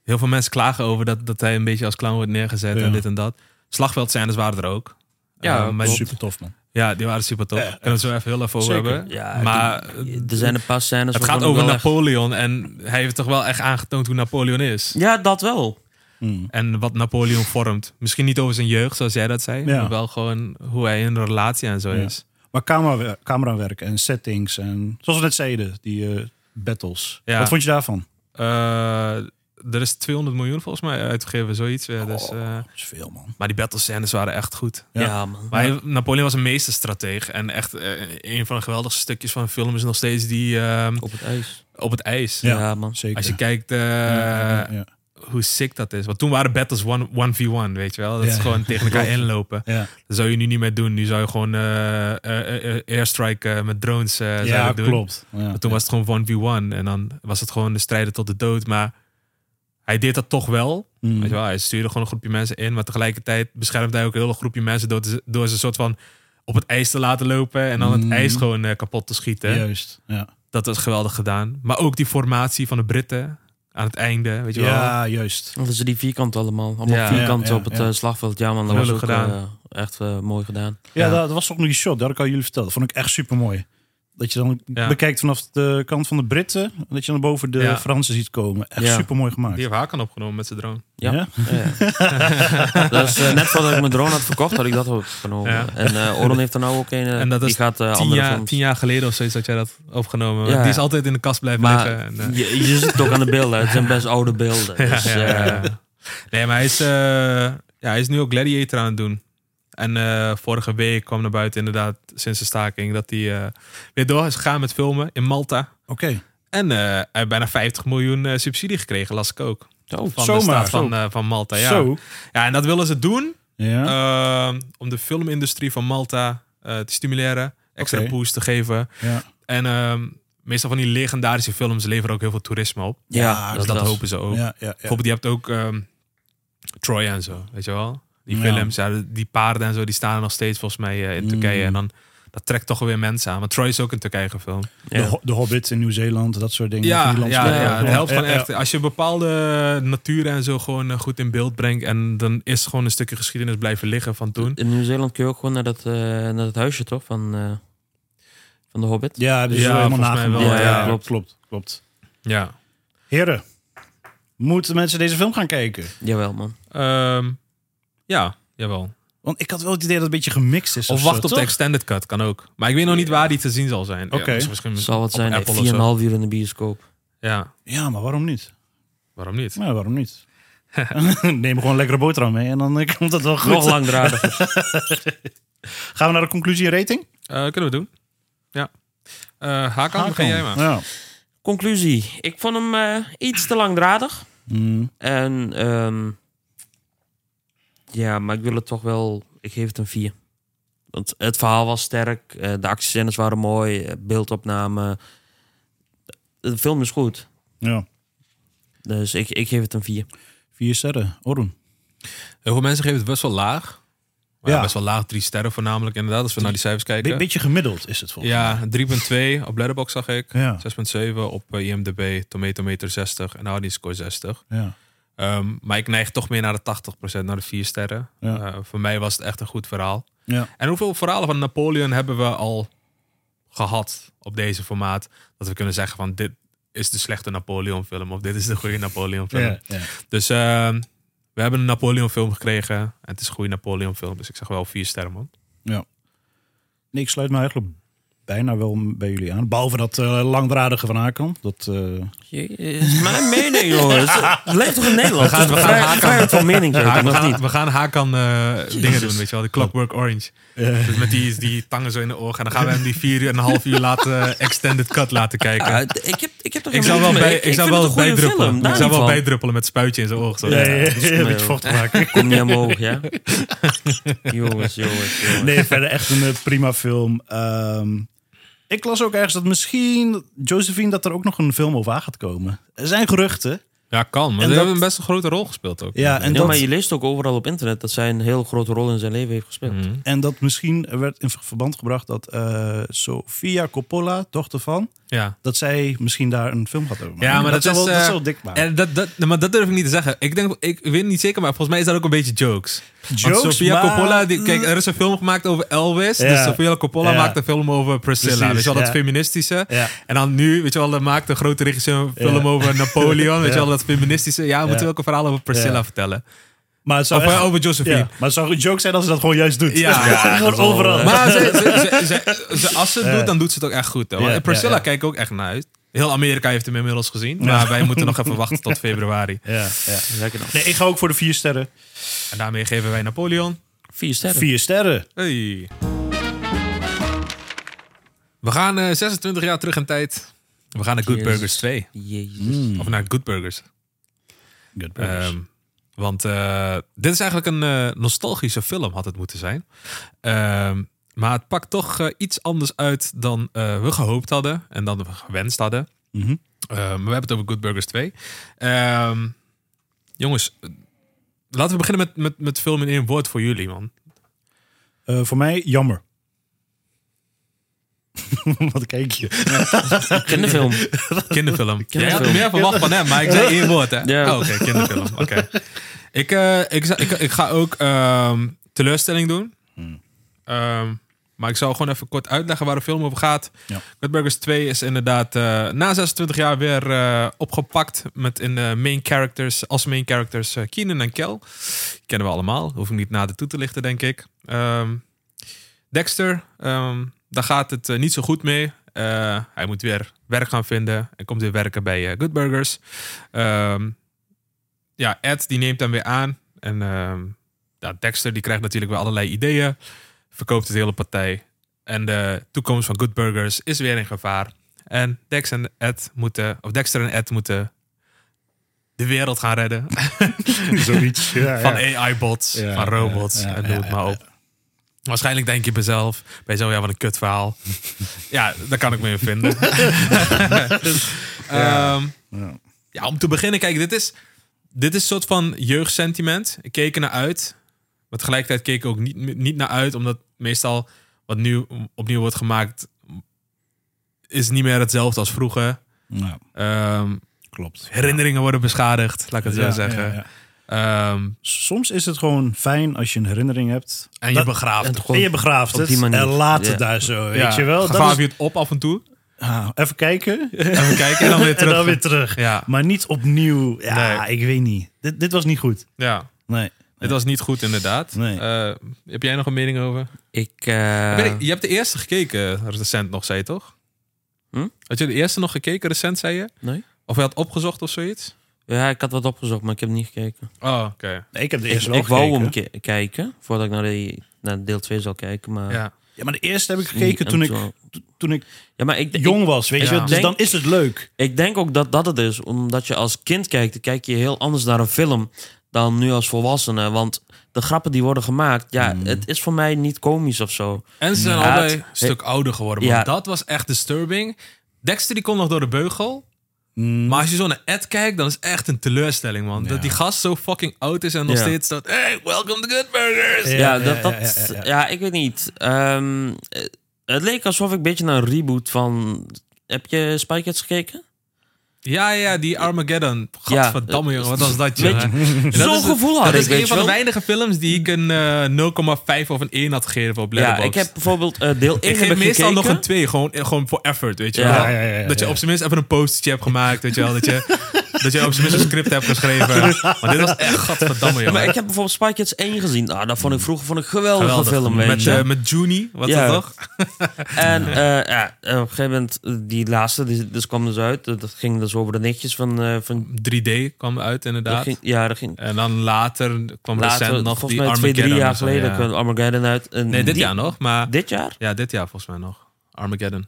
heel veel mensen klagen over dat, dat hij een beetje als clown wordt neergezet Ja. en dit en dat. Slagveldscènes waren er ook. Ja, Eh, maar klopt. die- Super tof, man. ja, die waren super tof. Kunnen we het zo even heel even over Zeker. hebben. Ja, maar die- er zijn een paar scènes... het waarvan gaat ik over wel echt- Napoleon en hij heeft toch wel echt aangetoond hoe Napoleon is. Ja, dat wel. Mm. En wat Napoleon vormt. Misschien niet over zijn jeugd, zoals jij dat zei. Ja. Maar wel gewoon hoe hij in een relatie en zo Ja. is. Maar camerawer- camerawerk en settings en... Zoals we net zeiden, die eh, battles. Ja. Wat vond je daarvan? Eh, er is 200 miljoen volgens mij uitgegeven, zoiets. weer. Dus, eh, Dat is veel, man. maar die battlescènes waren echt goed. Ja, Ja. man. Maar hij- Napoleon was een meesterstratege. En echt eh, een van de geweldigste stukjes van de film is nog steeds die ehm, Op het ijs. op het ijs. Ja, Ja, man. Zeker. Als je kijkt eh, ja, ja, hoe sick dat is. Want toen waren battles one- 1v1, weet je wel. Dat Ja, is ja. gewoon tegen elkaar Klopt. inlopen. ja. Dat zou je nu niet meer doen. Nu zou je gewoon eh, eh, eh, airstrike eh, met drones eh zou je Ja, dat doen. klopt. Ja. Maar toen was het gewoon 1v1 en dan was het gewoon de strijden tot de dood. Maar hij deed dat toch wel. Mm. Weet je wel hij stuurde gewoon een groepje mensen in, maar tegelijkertijd beschermde hij ook een hele groepje mensen door, te- door ze een soort van op het ijs te laten lopen en dan het Mm. ijs gewoon eh, kapot te schieten. Juist, ja. Dat was geweldig gedaan. Maar ook die formatie van de Britten aan het einde, weet je wel. Ja, juist. Dat is die vierkant allemaal. Allemaal Ja. vierkant Ja, ja, op het ja. eh, slagveld. Ja, man. Dat was ook Gruwelijk gedaan. echt eh, mooi gedaan. Ja, Ja. Dat, dat was ook nog die shot, dat had ik al jullie verteld. Dat vond ik echt super mooi. Dat je dan Ja. bekijkt vanaf de kant van de Britten, dat je dan boven de Ja. Fransen ziet komen. Echt Ja. super mooi gemaakt. Die heeft Hakan opgenomen met zijn drone. Ja. Ja? Ja. dat is eh, net voordat ik mijn drone had verkocht, had ik dat opgenomen. Ja. En eh, Oron heeft er nou ook een. eh, En dat die is gaat eh, tien, andere jaar, films. tien jaar geleden of zoiets had jij dat opgenomen. Ja. Die is altijd in de kast blijven Maar liggen. En, eh, je, je ziet het ook aan de beelden. Het zijn best oude beelden. Ja, Dus, ja, eh, ja, ja. Nee, maar hij is, eh, ja, hij is nu ook Gladiator aan het doen. En eh, vorige week kwam naar buiten inderdaad, sinds de staking, dat hij eh, weer door is gegaan met filmen in Malta. Oké. En eh, hij heeft bijna 50 miljoen eh, subsidie gekregen, las ik ook. zo. Van Zomaar. de staat van, Zo. eh, van Malta, ja. Zo. Ja, en dat willen ze doen Ja. eh, om de filmindustrie van Malta eh, te stimuleren. Extra Oké. boost te geven. ja. En ehm, meestal van die legendarische films leveren ook heel veel toerisme op. Ja, Ja, Dus dat, dat dat hopen ze ook. Ja, ja, ja. Bijvoorbeeld, je hebt ook ehm, Troy en zo, weet je wel. Die Ja. films, ja, die paarden en zo, die staan er nog steeds volgens mij eh, in Turkije. Mm. En dan, dat trekt toch weer mensen aan. Maar Troy is ook in Turkije gefilmd. Ja. De, Ho- de Hobbit in Nieuw-Zeeland, dat soort dingen. Ja, Van die ja, landschap. ja, het helpt gewoon Ja, ja. echt. Als je bepaalde natuur en zo gewoon eh, goed in beeld brengt. En dan is gewoon een stukje geschiedenis blijven liggen van toen. In Nieuw-Zeeland kun je ook gewoon naar dat, eh, naar dat huisje, toch? Van, eh, van de Hobbit. Ja, dus Ja, helemaal volgens mij nagemaakt. wel, Ja, ja. ja, klopt, klopt, klopt. Ja. Heren, moeten mensen deze film gaan kijken? Jawel, man. Ehm, ja, jawel. Want ik had wel het idee dat het een beetje gemixt is. Of wacht op zo, de toch? extended cut, kan ook. Maar ik weet nog niet waar die te zien zal zijn. Oké. Ja, dus misschien Zal wat op zijn, Apple of 4,5 zo. uur in de bioscoop. Ja, Ja, maar waarom niet? waarom niet? Nou, waarom niet? Neem gewoon een lekkere boterham mee en dan eh, komt dat wel goed. Nog langdradig. Gaan we naar de conclusie en rating? Ah, Eh, kunnen we doen. Ja. Eh Hakan, begin jij maar. Ja. Conclusie. Ik vond hem eh, iets te langdradig. Mm, En ehm, ja, maar ik wil het toch wel... Ik geef het een 4. Want het verhaal was sterk. eh, de actiescènes waren mooi. eh, beeldopname. De film is goed. ja. Dus ik, ik geef het een 4. Vier sterren. Orun. Heel veel mensen geven het best wel laag. Maar Ja. ja. Best wel laag, drie sterren voornamelijk inderdaad. Als we naar die cijfers kijken. Be- beetje gemiddeld is het volgens Ja, 3.2 op Letterboxd zag ik. Ja. 6.7 op eh, IMDb, Tomatometer 60 en Audience Score 60. mij. Ja. Ehm, maar ik neig toch meer naar de 80%, naar de 4 sterren. Ja. Eh, voor mij was het echt een goed verhaal. Ja. En hoeveel verhalen van Napoleon hebben we al gehad op deze formaat? Dat we kunnen zeggen van dit is de slechte Napoleon film of dit is de goede Napoleon film. Ja. Ja. Dus ehm, we hebben een Napoleon film gekregen. En het is een goede Napoleon film. Dus ik zeg wel vier sterren man. Nee, ik sluit me eigenlijk bijna wel bij jullie aan. Behalve dat eh, langdradige van Hakan. Dat, eh, Jee, is mijn mening, jongens. Leef toch in Nederland? We gaan- we gaan Vrij- haken. vrijheid van mening, Ja, we, nog gaan, niet. we gaan Hakan eh, dingen doen, weet je wel. De Clockwork Orange. Dus met die, die tangen zo in de ogen. En dan gaan we hem die vier uur en een half uur laten eh, extended cut laten kijken. Ja, d- ik heb, ik heb toch ik geen zou wel, moeite mee. bij, ik zou wel vind het een goede bijdruppelen. film, ik daar zou wel niet van. bijdruppelen met spuitje in zijn oog. Zo. ja, ja, ja, dat is een mij beetje ook. vocht maken. Kom niet omhoog, ja? jongens, jongens, jongens. Nee, verder echt een eh, prima film. Ehm, ik las ook ergens dat misschien, Josephine, dat er ook nog een film over aan gaat komen. Er zijn geruchten. Ja, kan. Maar En ze dat- hebben best een grote rol gespeeld ook. Ja, en Ja, dat, maar je leest ook overal op internet dat zij een heel grote rol in zijn leven heeft gespeeld. en dat misschien werd in verband gebracht dat eh Sofia Coppola, dochter van, Ja. dat zij misschien daar een film gaat over maken. Ja, maar dat, zou is, wel, dat eh, is wel dik maken. en dat, dat, nee, maar dat durf ik niet te zeggen. Ik, denk, ik weet het niet zeker, maar volgens mij is dat ook een beetje jokes. Want Jokes, Sofia maar- Coppola, die, kijk, eh, er is een film gemaakt over Elvis. Ja. Dus Sofia Coppola Ja. maakt een film over Priscilla. Precies, weet je wel, dat ja. feministische. Ja. En dan nu, weet je wel, dan maakt een grote regisseur een film over Napoleon. Weet je wel, dat feministische. Ja, we moeten ook een verhaal over Priscilla Ja. vertellen. maar het zou Of echt- eh, over Josephine. ja, maar het zou een joke zijn als ze dat gewoon juist doet. Ja. Ja, gewoon dat wel, overal. eh, Maar ze, ze, ze, ze- ze- als ze het Ja. doet, dan doet ze het ook echt goed. Hoor. Ja, Want Priscilla ja, ja. kijkt ook echt naar uit. Heel Amerika heeft hem inmiddels gezien. Maar wij moeten nog even wachten tot februari. ja, ja. Lekker dan. Nee, ik ga ook voor de vier sterren. En daarmee geven wij Napoleon. Vier sterren. Vier sterren. Hey. We gaan eh, 26 jaar terug in tijd. We gaan naar Good Jezus. Burgers 2. Jezus. Mm. Hmm. Of naar Good Burgers. Good Ehm, want eh, dit is eigenlijk een eh, nostalgische film, had het moeten zijn. Ehm, maar het pakt toch eh, iets anders uit dan eh, we gehoopt hadden en dan we gewenst hadden. Mhm. Ehm, maar we hebben het over Good Burgers 2. Ehm, jongens, eh, laten we beginnen met, met, met film in één woord voor jullie, man. Eh, voor mij, jammer. Wat kijk je? Kinderfilm. Kinderfilm. Jij had er Kinderfilm. meer verwacht van hem, maar ik zei één woord, hè? Ja. Oh, Oké, kinderfilm. Oké. Ik, eh, ik, za- ik, ik ga ook ehm, teleurstelling doen. Hmm. Ehm, maar ik zal gewoon even kort uitleggen waar de film over gaat. Ja. Good Burgers 2 is inderdaad eh, na 26 jaar weer eh, opgepakt met in de main characters, als main characters eh, Keenan en Kel. Kennen we allemaal, hoef ik niet nader toe te lichten, denk ik. Ehm, Dexter, ehm, daar gaat het eh, niet zo goed mee. Eh, hij moet weer werk gaan vinden en komt weer werken bij eh, Good Burgers. Ehm, ja, Ed die neemt hem weer aan. En ehm, ja, Dexter die krijgt natuurlijk weer allerlei ideeën. Verkoopt het hele partij. En de toekomst van Good Burgers is weer in gevaar. En Dex en Ed moeten, of Dexter en Ed moeten de wereld gaan redden. Zoiets. Ja, van ja. AI-bots, Ja, van robots. ja, ja, en noem ja, het maar op. Waarschijnlijk denk je bij zelf, bij zo ja, wat een kut verhaal. ja, daar kan ik me in vinden. Ehm, Ja. ja, om te beginnen, kijk, dit is, dit is een soort van jeugdsentiment. Ik keek ernaar uit. Maar tegelijkertijd keek ik ook niet, niet naar uit, omdat meestal wat nu opnieuw wordt gemaakt, is niet meer hetzelfde als vroeger. Ja, Ehm, klopt. herinneringen worden beschadigd, laat ik het zo Ja, zeggen. ja, ja. Ehm, Soms is het gewoon fijn als je een herinnering hebt. en je Dat- begraaft en het. gewoon- en je begraaft op het die manier. en laat het Ja. daar zo, weet Ja, je wel. Dat Gevaar is- je het op af en toe. Ah, even kijken Even kijken en dan weer en terug. dan weer terug. Ja. Maar niet opnieuw. Ja, Nee. ik weet niet. Dit, dit was niet goed. Ja, Nee. dit was niet goed inderdaad. Nee. Eh, heb jij nog een mening over? Ik, eh, Ben ik- je hebt de eerste gekeken recent nog, zei je toch? Hm? Had je de eerste nog gekeken recent, zei je? Nee. Of je had opgezocht of zoiets? ja, ik had wat opgezocht, maar ik heb niet gekeken. Oh, oké. Nee, ik heb de Ik, eerste wel ik wou gekeken. hem ke- kijken, voordat ik naar, die, naar deel 2 zou kijken. Maar Ja. Ja, maar de eerste heb ik niet- gekeken en toen ik, toen- to- toen ik ja, maar ik, ik- jong was, weet je Ja. wel. Dus Denk- dan is het leuk. Ik denk ook dat dat het is, omdat je als kind kijkt, dan kijk je heel anders naar een film dan nu als volwassene. Want de grappen die worden gemaakt, ja, Mm. het is voor mij niet komisch of zo. En ze zijn Ja, allebei het- een stuk ouder geworden. Want Ja. dat was echt disturbing. Dexter die kon nog door de beugel. Mm. Maar als je zo naar Ed kijkt, dan is het echt een teleurstelling, man. Dat die gast zo fucking oud is en nog Ja. steeds dat... Hey, welcome to Good Burgers! Ja, Ja, ja, dat, dat, ja, ja, ja, ja. ik weet niet. Ehm, eh, het leek alsof ik een beetje naar een reboot van... Heb je Spy Kids gekeken? Ja, ja, die Armageddon. Gadverdamme, Ja. jongen, wat was dat, Weet joh. je, Dat zo'n is het- gevoel had Dat ik, is weet een je van de wel. weinige films die ik een eh 0,5 of een 1 had gegeven op Ja, Letterboxd. ik heb bijvoorbeeld eh, deel 1 Ik geef heb ik meestal gekeken. nog een 2, gewoon, eh, gewoon voor effort, weet je Ja. wel. Ja, ja, ja, ja, dat je ja. op zijn minst even een postertje hebt gemaakt, weet je wel. Dat je, dat je op zijn minst een script hebt geschreven. Maar dit was echt gadverdamme, Ja, jongen. maar ik heb bijvoorbeeld Spy Kids 1 gezien. Nou, dat vond ik vroeger vond ik een geweldige Geweldig. film, weet Met, je. eh, met Juni, wat Ja. dat toch? En eh, ja, eh, op een gegeven moment, eh, die laatste, die, dus kwam dus uit. Dat dat ging dus over de nichtjes van... eh, van 3D kwam uit, dat inderdaad. ging, ja, dat ging... En dan later kwam Later, recent nog die volgens mij twee, Armageddon. drie jaar of zo, geleden ja. kwam Armageddon uit. En Nee, dit die- jaar nog, maar... Dit jaar? Ja, dit jaar volgens mij nog. Armageddon.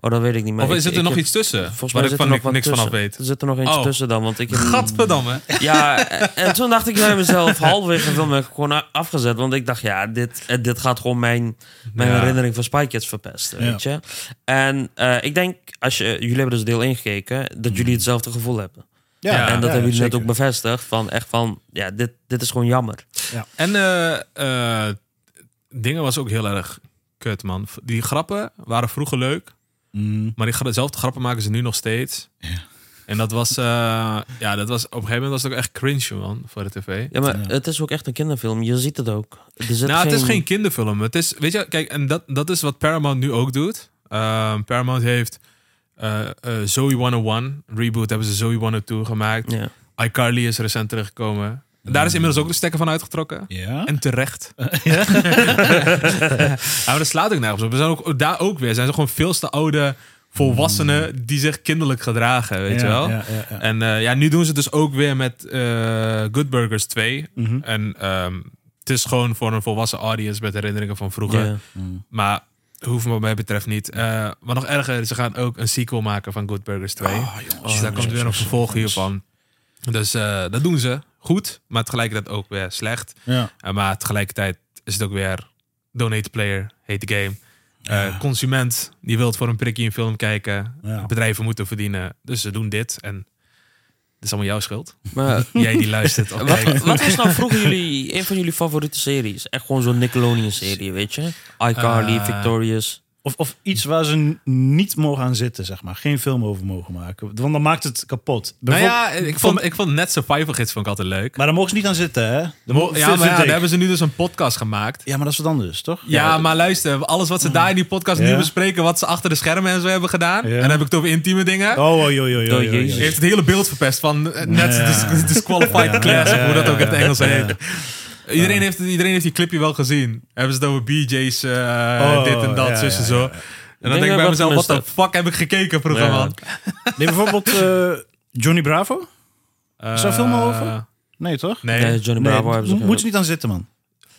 Oh, dat weet ik niet meer. of Ik- is er ik nog heb- iets tussen? Volgens waar mij ik zit er van niks nog wat niks tussen. vanaf weet. Er zit er nog eentje Oh. tussen dan, want ik... heb- Gadverdamme. Ja, en toen dacht ik bij mezelf, halverwege de film heb ik gewoon afgezet. Want ik dacht, ja, dit, eh, dit gaat gewoon mijn, mijn Ja. herinnering van Spy Kids verpesten, Ja. weet je. En eh, ik denk, als je, jullie hebben dus deel 1 gekeken, dat jullie hetzelfde gevoel hebben. Mhm. Ja, en dat hebben jullie zeker. net ook bevestigd, van echt van, ja, dit, dit is gewoon jammer. En eh, eh, dingen was ook heel erg kut, man. V- Die grappen waren vroeger leuk, Mm. maar die gra- zelfde grappen maken ze nu nog steeds. En dat was, eh, ja, dat was op een gegeven moment was het ook echt cringe, man, voor de tv. Ja, maar Ja. het is ook echt een kinderfilm, je ziet het ook. Er zit nou, het is geen kinderfilm. Het is, weet je, kijk, en dat, dat is wat Paramount nu ook doet. Ehm, Paramount heeft eh eh Zoe 101, reboot hebben ze Zoe 102 gemaakt. Ja. iCarly is recent teruggekomen. Daar is inmiddels ook de stekker van uitgetrokken. Ja? En terecht. ja. maar dat slaat ook nergens op. We zijn ook, daar ook weer zijn ze gewoon veel te oude volwassenen die zich kinderlijk gedragen, weet Ja, je wel? ja, ja, ja. En eh, ja, nu doen ze het dus ook weer met eh, Good Burgers 2. Mhm. En ehm, het is gewoon voor een volwassen audience met herinneringen van vroeger. Ja. Maar hoeft me wat mij betreft niet. Eh wat nog erger, ze gaan ook een sequel maken van Good Burgers 2. Oh, jongens, dus daar jongens, komt weer een jongens, vervolg jongens. hiervan. Dus eh, dat doen ze goed, maar tegelijkertijd ook weer slecht. Ja. Uh, maar tegelijkertijd is het ook weer donate player, heet de game. Uh, Consument, die wilt voor een prikkie een film kijken. Ja. Bedrijven moeten verdienen, dus ze doen dit. En het is allemaal jouw schuld. Maar Jij die luistert. of wat, kijkt. wat was nou vroeger jullie, een van jullie favoriete series? Echt gewoon zo'n Nickelodeon-serie, weet je? iCarly, Eh, Victorious. Of, of iets waar ze n- niet mogen aan zitten, zeg maar. Geen film over mogen maken. Want dan maakt het kapot. nou Bijvoorbeeld- ja, ik vond, ik vond net Survival Gids vond ik altijd leuk. Maar daar mogen ze niet aan zitten, hè? Daar Mo- mogen- ja, maar vind- ja, vind daar ik. hebben ze nu dus een podcast gemaakt. Ja, maar dat is wat anders, toch? Ja, maar luister, alles wat ze daar in die podcast Ja. nu bespreken, wat ze achter de schermen en zo hebben gedaan. Ja. En dan heb ik het over intieme dingen. Oh, oh, joh, joh, joh, joh, joh. Jezus. Heeft het hele beeld verpest van eh, net Ja. dis- disqualified Ja. class, of hoe dat ook in het Engels Ja. heet. Iedereen heeft, iedereen heeft die clipje wel gezien. Hebben ze het over BJ's, eh, Oh, dit en dat, ja, zus en ja, zo. ja, ja. En dan denk denk ik dat bij ik mezelf, wat wat de fuck heb ik gekeken vroeger, Ja. man? Nee, bijvoorbeeld eh, Johnny Bravo? Is daar Eh, film al over? Nee, toch? Nee. Nee, eh, Johnny Nee, Bravo hebben ze mo- gedaan. moeten ze niet aan zitten, man.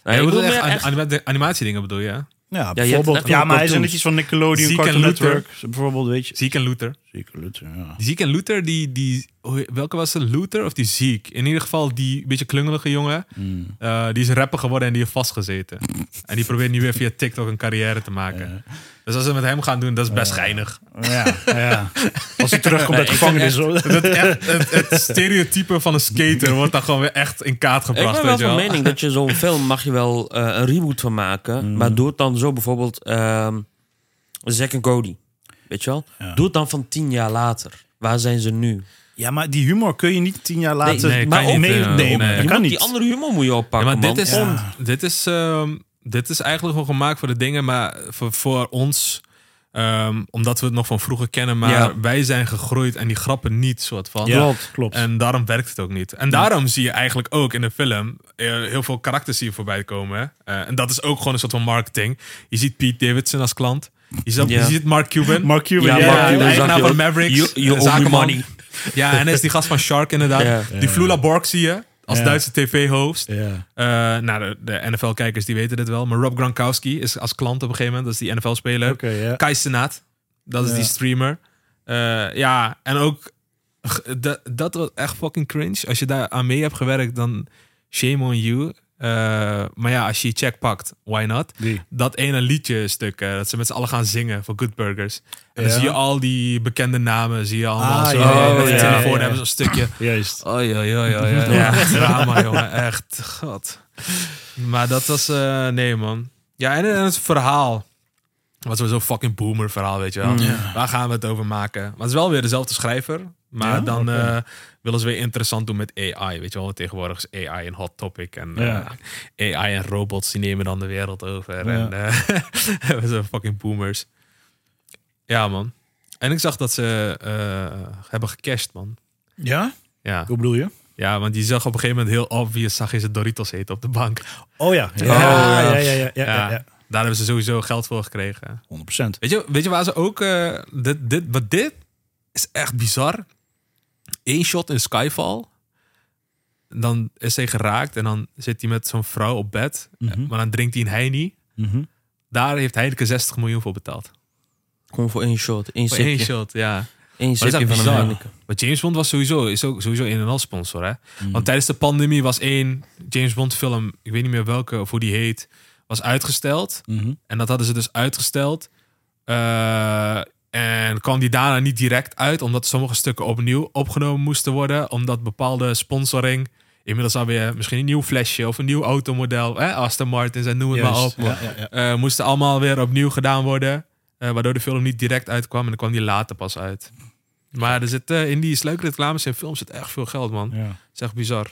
Nee, je bedoelt ik bedoel echt meer an- echt- anima- animatiedingen bedoel je? hè? Ja, hebt bijvoorbeeld. echt wel ja, maar hij is cartoons. netjes van Nickelodeon, Ziek en Cartoon Luther. Network. Bijvoorbeeld, weet je. Ziek en Luther. Ziek en Luther, ja. Die Ziek en Luther, die, die hoe- welke was het? Luther of die Ziek? In ieder geval die beetje klungelige jongen. Hmm. Eh, die is rapper geworden en die heeft vastgezeten. en die probeert nu weer via TikTok een carrière te maken. Dus als ze met hem gaan doen, dat is best geinig. Ja, ja. Als hij terugkomt uit de gevangenis. hoor. Dat echt, het, het stereotype van een skater wordt dan gewoon weer echt in kaart gebracht. Ik ben weet wel je wel. van mening dat je zo'n film mag je wel eh, een reboot van Mm. maken. Maar doe het dan zo bijvoorbeeld ehm Zack en Cody. Weet je wel? Doe het dan van tien jaar later. Waar zijn ze nu? Ja, maar die humor kun je niet tien jaar later... nee, maar kan ook- niet, nee, eh, nee, nee. maar Je dat kan Die niet. andere humor moet je Ja, maar oppakken, dit man. is, dit, is, ehm, dit is eigenlijk gewoon gemaakt voor de dingen, maar voor, voor ons, ehm, omdat we het nog van vroeger kennen, maar Ja. wij zijn gegroeid en die grappen niet, soort van. Ja, klopt, klopt. En daarom werkt het ook niet. En daarom zie je eigenlijk ook in de film eh, heel veel karakters hier voorbij komen. hè. Eh, en dat is ook gewoon een soort van marketing. Je ziet Pete Davidson als klant. Je ziet, Ja. je ziet Mark Cuban. Mark Cuban, Ja, ja. Mark de Cuban. zag eigenaar je van ook. Mavericks. You- you de owe me zakenman. money. Ja, en hij is die gast van Shark inderdaad. Ja. Die Flula Borg zie je als Ja. Duitse tv-host. Ja. Eh, nou, de, de NFL-kijkers die weten dit wel. Maar Rob Gronkowski is als klant op een gegeven moment. Dat is die NFL-speler. Oké, ja. Kai Senaat. Dat is Ja. die streamer. Eh, ja, en ook... g- Dat, dat was echt fucking cringe. Als je daar aan mee hebt gewerkt, dan shame on you. Eh, maar ja, als je je check pakt, why not? Die. Dat ene liedje stuk, eh, dat ze met z'n allen gaan zingen voor Good Burgers. En Ja. dan zie je al die bekende namen, zie je allemaal Ah, zo. ja, ja, met de ja, telefoon ja, ja. hebben ze een stukje. Juist. Oh ja, ja, ja, ja. Echt drama, jongen. Echt, god. Maar dat was, eh, nee, man. Ja, en, en het verhaal. Wat zo'n fucking boomer verhaal, weet je Mm. wel. Waar gaan we het over maken? Maar het is wel weer dezelfde schrijver. Maar Ja? dan eh, willen ze weer interessant doen met AI. Weet je wel, want tegenwoordig is AI een hot topic. En Ja. eh, AI en robots, die nemen dan de wereld over. Ja. En eh, we zijn fucking boomers. Ja, man. En ik zag dat ze eh, hebben gecashed, man. Ja? Ja. Hoe bedoel je? Ja, want die zag op een gegeven moment heel obvious, zag je ze Doritos eten op de bank. Oh ja. Ja, ja. ja, ja, ja, ja, ja, Ja, ja. Daar hebben ze sowieso geld voor gekregen. 100 procent. Weet je, weet je waar ze ook... eh, dit, dit, wat dit is echt bizar. Eén shot in Skyfall. Dan is hij geraakt en dan zit hij met zo'n vrouw op bed. Mhm. Maar dan drinkt hij een Heini. Daar heeft Heineken 60 miljoen voor betaald. Gewoon voor één shot. Één Voor één zipje. shot, ja. Maar Eén dat zipje is echt van een bizar. Heineken. Maar James Bond was sowieso, is ook sowieso een en al sponsor. Hè? Hmm. Want tijdens de pandemie was één James Bond film, ik weet niet meer welke of hoe die heet, was uitgesteld. Mhm. En dat hadden ze dus uitgesteld. Eh, en kwam die daarna niet direct uit, omdat sommige stukken opnieuw opgenomen moesten worden. Omdat bepaalde sponsoring, inmiddels alweer misschien een nieuw flesje of een nieuw automodel, hè? Aston Martins en noem het maar op. Ja, ja, ja. Eh, moesten allemaal weer opnieuw gedaan worden. eh, waardoor de film niet direct uitkwam en dan kwam die later pas uit. Maar er zit, eh, in die sluikreclames en films zit echt veel geld, man. Ja. Dat is echt bizar.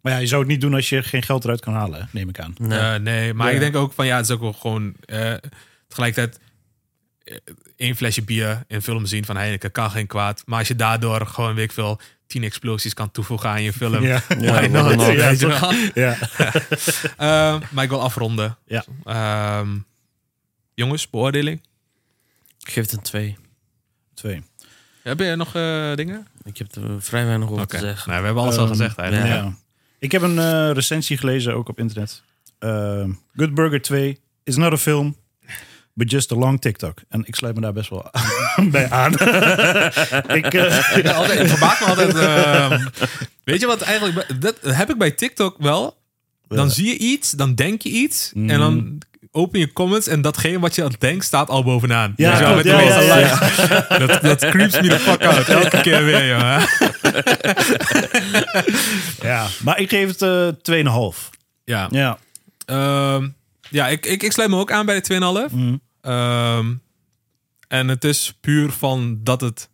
Maar ja, je zou het niet doen als je geen geld eruit kan halen, hè, neem ik aan. Nee. Eh, nee, maar Ja. ik denk ook van ja, het is ook wel gewoon eh, tegelijkertijd eh, één flesje bier in een film zien van Heineken kan geen kwaad. Maar als je daardoor gewoon, weet ik veel, tien explosies kan toevoegen aan je film. Ja. why Ja, not? why not? Weet je wel? Ja. Eh, maar ik wil afronden. Ja. Ehm, jongens, beoordeling. Ik geef het een twee. Twee. Heb je nog eh, dingen? Ik heb er vrij weinig over Oké. te zeggen. Nou, we hebben alles al Ehm, gezegd Ja. eigenlijk. Ik heb een eh, recensie gelezen, ook op internet. Ehm, Good Burger 2 is not a film, but just a long TikTok. En ik sluit me daar best wel bij aan. ik, eh, Ja, altijd, het verbaast me altijd. ehm, weet je wat eigenlijk? bij- Dat heb ik bij TikTok wel. Dan Ja. zie je iets, dan denk je iets. En Mm. dan open je comments en datgene wat je aan het denkt staat al bovenaan. Ja, Weet je wel, klopt, met de ja, ja, meeste likes. Dat, dat creeps me the fuck out. Elke keer weer, jongen. ja. Maar ik geef het eh 2,5. Ja, Ja. Ehm, ja ik, ik, ik sluit me ook aan bij de 2,5. Ehm, en het is puur van dat het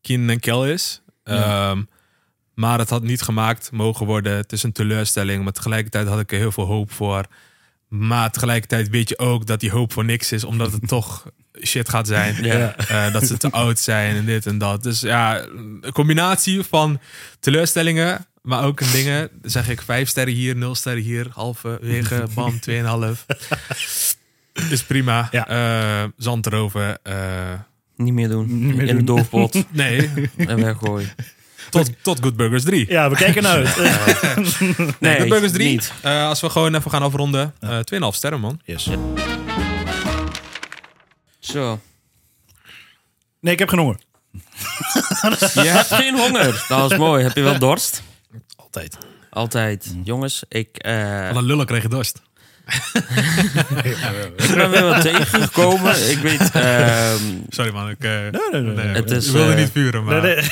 Kin en Kel is. Ehm, Maar het had niet gemaakt mogen worden. Het is een teleurstelling. Maar tegelijkertijd had ik er heel veel hoop voor. Maar tegelijkertijd weet je ook dat die hoop voor niks is. Omdat het toch shit gaat zijn. Ja. Eh, dat ze te oud zijn en dit en dat. Dus ja, een combinatie van teleurstellingen, maar ook dingen. Dan zeg ik vijf sterren hier, nul sterren hier, halverwege, bam, tweeënhalf. Is prima. Ja. Eh, zand erover. eh, Niet meer doen. meer In de doen. doofpot. nee, en weggooien. tot, tot Good Burgers 3. ja, we kijken naar uit. Nee, Good Burgers 3. Niet. eh, als we gewoon even gaan afronden. eh 2,5 sterren, man. Yes. Zo. Nee, ik heb geen honger. Je hebt geen honger. Dat is mooi. Heb je wel dorst? Altijd. Altijd. Mm. Jongens, ik, eh, Alle lullen kregen dorst. ik ben weer wat tegengekomen. Ik weet... ehm, Sorry man, ik, eh, nee, nee. nee, Het is, ik wilde eh, niet vuren, maar... Nee,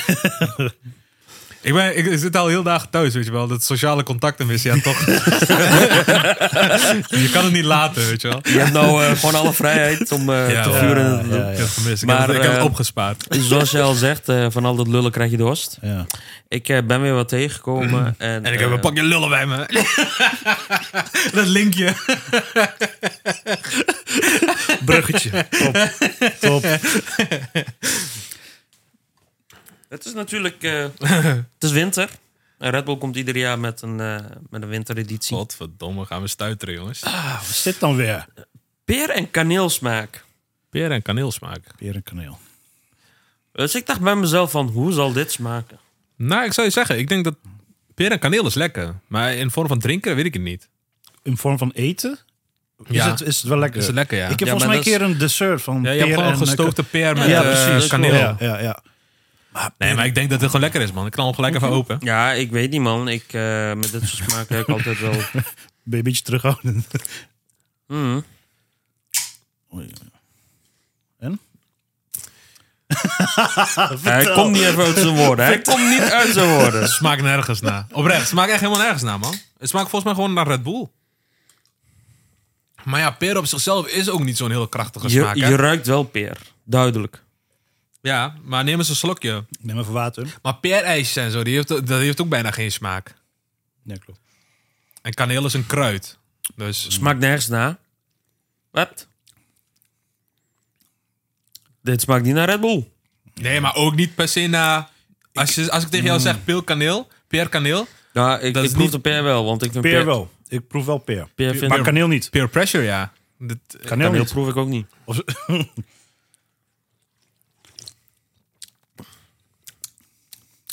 Ik, ben, ik zit al heel dagen thuis, weet je wel. Dat sociale contacten mis je ja, toch. je kan het niet laten, weet je wel. je hebt nou eh, gewoon alle vrijheid om eh, Ja, te ja, vuren. ja, en te doen. Ik heb het gemist. Ik, Maar, heb, het, ik heb het eh, opgespaard. Zoals je al zegt, eh, van al dat lullen krijg je dorst. Ja. Ik eh, ben weer wat tegengekomen. En, Mm. En ik heb eh, een pakje lullen bij me. dat linkje. Bruggetje. Top. Top. Het is natuurlijk... eh, het is winter. En Red Bull komt ieder jaar met een, eh, met een wintereditie. Godverdomme, gaan we stuiteren, jongens. Wat is dit dan weer? Peer en kaneelsmaak. Peer en kaneelsmaak. Weer een kaneel. Dus ik dacht bij mezelf van, hoe zal dit smaken? Nou, ik zou je zeggen, ik denk dat peer en kaneel is lekker. Maar in vorm van drinken weet ik het niet. In vorm van eten? Is, Ja. het, is het wel lekker? Is het lekker, ja. Ik heb Ja, volgens maar mij een dat is- keer een dessert van ja je peer hebt gewoon en, eh, gestookte peer met Ja, eh, precies. kaneel. Ja, ja, ja. Nee, maar ik denk dat het gewoon lekker is, man. Ik knal hem gelijk even open. Ja, ik weet niet, man. Ik, eh, met dit soort smaken heb ik altijd wel... Ben je een beetje terughoudend? Mm. Oei. Hij komt niet even uit zijn woorden. Hij komt niet uit zijn woorden. Het smaakt nergens na. Oprecht, het smaakt echt helemaal nergens na, man. Het smaakt volgens mij gewoon naar Red Bull. Maar ja, peer op zichzelf is ook niet zo'n heel krachtige Je, smaak. hè? je ruikt wel peer. Duidelijk. Ja, maar neem eens een slokje. Neem even water. Maar peerijsjes en zo, die heeft, dat heeft ook bijna geen smaak. Ja, klopt. En kaneel is een kruid. Dus Smaakt nergens na. Wat? Dit smaakt niet naar Red Bull. nee, maar ook niet per se na... Als, je, als ik tegen jou zeg pil kaneel, peer kaneel... Nou, ik, Dat ik is proef niet- de peer wel, want ik vind Peer wel. Ik proef wel peer. Peer vind maar ik- kaneel niet. Peer pressure, ja. eh, Dit, Kaneel, Kaneel niet. proef ik ook niet.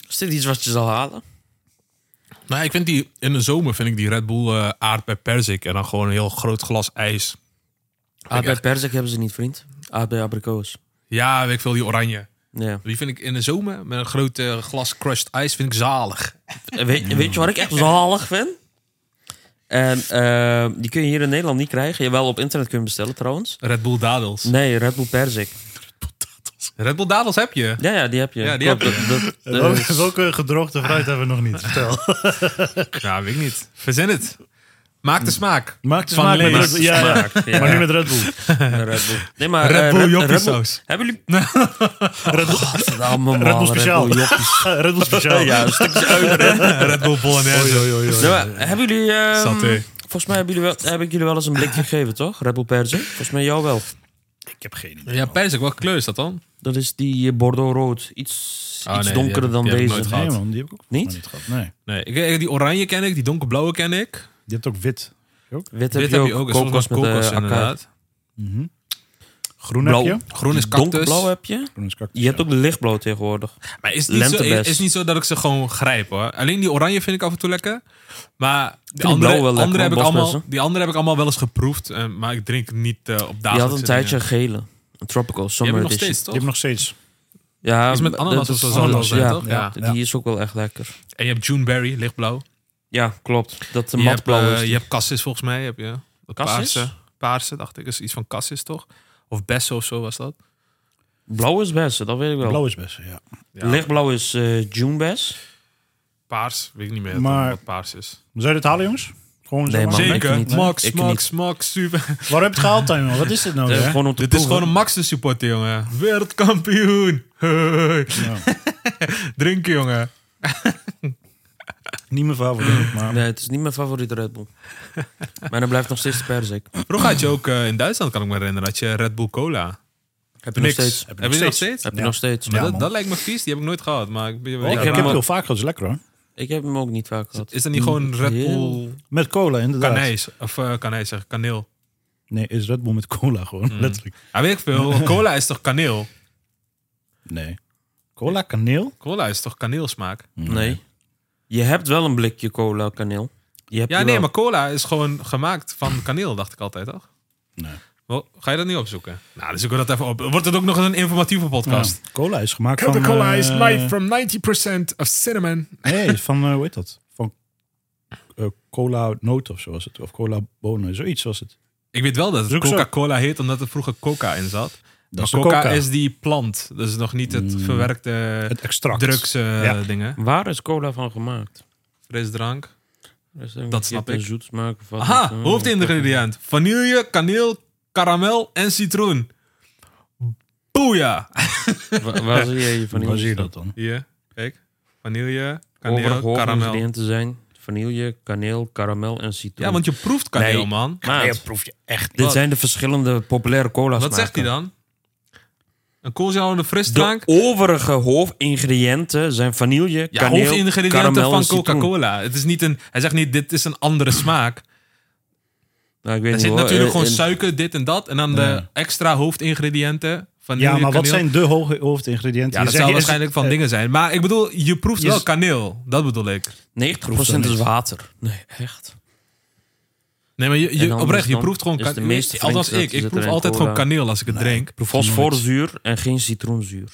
Is dit iets wat je zal halen? Nou, ik vind die... In de zomer vind ik die Red Bull eh aardbei perzik. En dan gewoon een heel groot glas ijs. Aardbei perzik Ah, hebben ze niet, vriend. Aardbei abrikoos. Ja, weet ik veel, die oranje. Ja. Die vind ik in de zomer met een groot eh, glas crushed ijs vind ik zalig. Eh, Weet, weet je wat ik echt zalig vind? En eh, die kun je hier in Nederland niet krijgen. Jawel, op internet kun je hem bestellen trouwens. Red Bull dadels. Nee, Red Bull perzik. Red Bull dadels heb je. Ja, ja, die heb je. Ja, die Klopt, heb je. dat- dat- dat Welke, is- welke gedroogde fruit hebben we nog niet? Vertel. Ja, weet ik niet. Verzin het. Maak de smaak. Maak de Van smaak met Lees. Red Bull. Ja, ja. Smaak, ja. Maar nu met Red Bull. Red Bull. Nee, maar, Red eh, Bull joppiesaus. Hebben jullie... Red Bull, allemaal, Red Bull speciaal. Red Bull joppies. Red Bull speciaal. ja, een stukje uier, hè. Red Bull bolognese. Oei, oei, oei, oei. Nee, maar hebben jullie... ehm, Saté. volgens mij hebben jullie wel, heb ik jullie wel eens een blik gegeven, toch? Red Bull Perzik. Volgens mij jou wel. Ik heb geen idee. Ja, perzik. Welke kleur is dat dan? Dat is die eh, Bordeaux rood. Iets, Oh, iets nee, donkerder die dan heb ik- die heb ik deze. nooit gehad. Nee man, die heb ik ook volgens Niet? mij niet gehad. Nee. Nee, ik, ik- die oranje ken ik. Die donkerblauwe ken ik. Je hebt ook wit. Wit heb Dit je ook. en soms Kokos met wel kokos eh, acai. inderdaad. Groen Blauw. heb je. Groen is cactus. Donkerblauw heb je. Groen is cactus. Je hebt ook lichtblauw tegenwoordig. Maar is het niet, zo, Lentebest. is niet zo dat ik ze gewoon grijp hoor. Alleen die oranje vind ik af en toe lekker. Maar die die andere, blauwe wel lekker, andere heb ik hoor, allemaal, bosbessen. die andere heb ik allemaal wel eens geproefd. eh, maar ik drink niet eh, op Je dagelijks. had een tijdje een gele. Een tropical Je summer hebt hem nog edition. steeds, Je toch? hebt nog steeds. Ja, Iets met dat ananas is- of zo zal het wel zijn, ja, toch? Ja, Ja. die is ook wel echt lekker. En je hebt Juneberry, lichtblauw. Ja, klopt. Dat de Je hebt, matblauw eh, is. je hebt Cassis volgens mij. Heb je. Dat Cassis? Paarse, paarse, dacht ik. Is iets van Cassis, toch? Of Besso of zo was dat. Blauw is best, dat weet ik wel. Blauw is best, ja. Ja, Lichtblauw is eh Junebes. Paars, weet ik niet meer Maar- wat paars is. Zou je dit halen, jongens? Gewoon zo Nee, maar. man. Zeker. ik niet. Max, Ik Max, niet. Max, super. Waar heb je het gehaald, Tijmen? Wat is dit nou? Eh, weer? gewoon om te Oh, Dit is proeven. gewoon een Max te supporten, jongen. Wereldkampioen. Hoi. Drinken, jongen. Niet mijn favoriet, maar... Nee, het is niet mijn favoriete Red Bull. maar dan blijft nog steeds de perzik. Vroeger had je ook eh, in Duitsland, kan ik me herinneren, had je Red Bull Cola. Heb je Niks. nog steeds. Heb je die nog steeds? Heb je Ja. nog steeds. Maar Ja, dat, man. dat lijkt me vies, die heb ik nooit gehad. Maar ik, ben- ik- Oh, ik heb maar- hem heel vaak gehad, is lekker hoor. Ik heb hem ook niet vaak gehad. is dat niet gewoon Red Bull Met cola, inderdaad. kanijs? Of eh kanijs zeg, ik, kaneel. Nee, is Red Bull met cola gewoon, Mm. letterlijk. Ja, weet ik veel. Cola is toch kaneel? Nee. Cola, kaneel? Cola is toch kaneelsmaak? Nee. Je hebt wel een blikje cola kaneel. Je hebt Ja, die nee, wel. maar cola is gewoon gemaakt van kaneel, dacht ik altijd, toch? Nee. Wel, ga je dat niet opzoeken? Nou, dan zoeken we dat even op. Wordt het ook nog eens een informatieve podcast? Ja. Cola is gemaakt van... Coca-Cola is eh, made from 90% of cinnamon. Nee, van, eh, hoe heet dat? Van eh, cola noot of zo was het. Of cola bonen, zoiets was het. Ik weet wel dat het Zoek ze op. Coca-Cola heet, omdat er vroeger coca in zat. Dat is de maar coca, coca. Mm. is die plant. Dus nog niet het verwerkte Het extract. drugs eh, Ja. dingen. Waar is cola van gemaakt? Frisdrank. Dus dan Dat je snap hebt ik. Een zoetsmaak of wat. Aha, dan ook. hoofdingrediënt. Vanille, kaneel, karamel en citroen. Boeja! Wa- Waar zie je je vanille? Waar zie je dat dan? Hier, kijk. Vanille, Overige kaneel, karamel. hoofdingrediënten zijn vanille, kaneel, karamel en citroen. Ja, want je proeft kaneel, Nee. man. Maat, proef je echt dit Wat? zijn de verschillende populaire cola's. Wat zegt hij maken. dan? Een koolzuurhoudende frisdrank. De overige hoofdingrediënten zijn vanille, Ja, kaneel, hoofdingrediënten karamel van en citroen. Coca-Cola. Het is niet een, hij zegt niet, dit is een andere smaak. Nou, ik Er weet niet zit hoor. natuurlijk Eh, gewoon in- suiker, dit en dat. En dan de extra hoofdingrediënten. Vanille, Ja, maar wat kaneel. zijn de hoge hoofdingrediënten? Ja, dat Je zegt, zou is- waarschijnlijk van dingen zijn. Maar ik bedoel, je proeft Je wel z- kaneel. Dat bedoel ik. 90% is water. Nee, echt. Nee, maar je, je- En dan oprecht, is je dan- proeft gewoon is de kaneel. meeste Althans flink ik, zit ik er proef in altijd cola. gewoon kaneel als ik het drink. Fosforzuur en geen citroenzuur.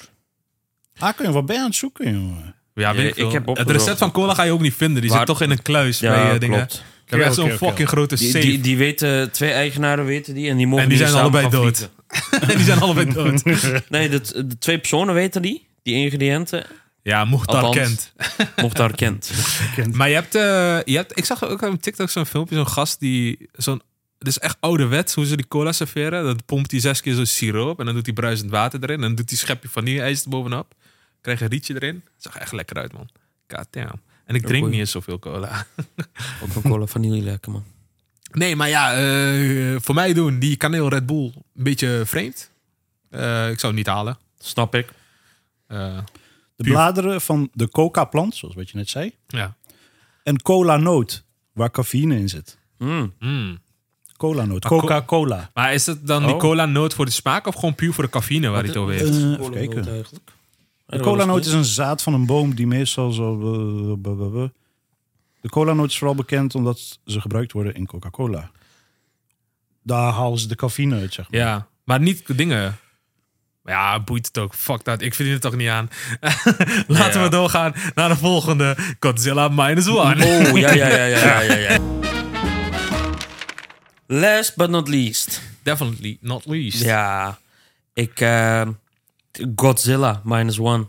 Ah, kun je wat bij aan het zoeken, jongen. Ja, weet Ja, ik, veel. ik heb Het opgezocht. recept van cola ga je ook niet vinden. Die Waar- zit toch in een kluis bij eh, dingen. Ik heb Oké, echt zo'n oké, oké. fucking grote Die, safe. die, die weten, twee eigenaren weten die en die mogen en die niet zijn samen allebei gaan dood. frieten. en die zijn allebei dood. Nee, dat, de twee personen weten die, die ingrediënten, Ja, Mochtar Althans. kent. mocht daar kent. Maar je hebt, eh, je hebt, ik zag ook op TikTok zo'n filmpje, zo'n gast die zo'n, het is echt ouderwets hoe ze die cola serveren. Dan pompt hij zes keer zo'n siroop en dan doet hij bruisend water erin. En dan doet hij een schepje vanille-ijs bovenop. Krijg een rietje erin. Zag er echt lekker uit, man. God damn. En ik drink goeie. niet eens zoveel cola. Ook een cola vanille lekker, man. Nee, maar ja, eh, voor mij doen die kaneel Red Bull een beetje vreemd. Eh, ik zou het niet halen. Snap ik. Eh, De Puur. bladeren van de coca-plant, zoals wat je net zei. ja. En cola-noot, waar cafeïne in zit. Mm. Mm. Cola-noot, Maar Ah, co- Coca-Cola. Maar is het dan die Oh. cola nood voor de smaak of gewoon puur voor de cafeïne waar hij het over Eh, heeft? even kijken. De colanoot is een zaad van een boom die meestal zo... eh, b- b- b- De colanoot is vooral bekend omdat ze gebruikt worden in Coca-Cola. Daar halen ze de cafeïne uit, zeg maar. Ja, maar niet dingen. Ja, boeit het ook. Fuck dat. Ik verdien het toch niet aan. Laten we doorgaan naar de volgende. Godzilla Minus One. Oh, ja, ja, ja, ja, ja, ja, ja. Last but not least. Definitely not least. Ja. Ja, ik... eh, Godzilla minus one.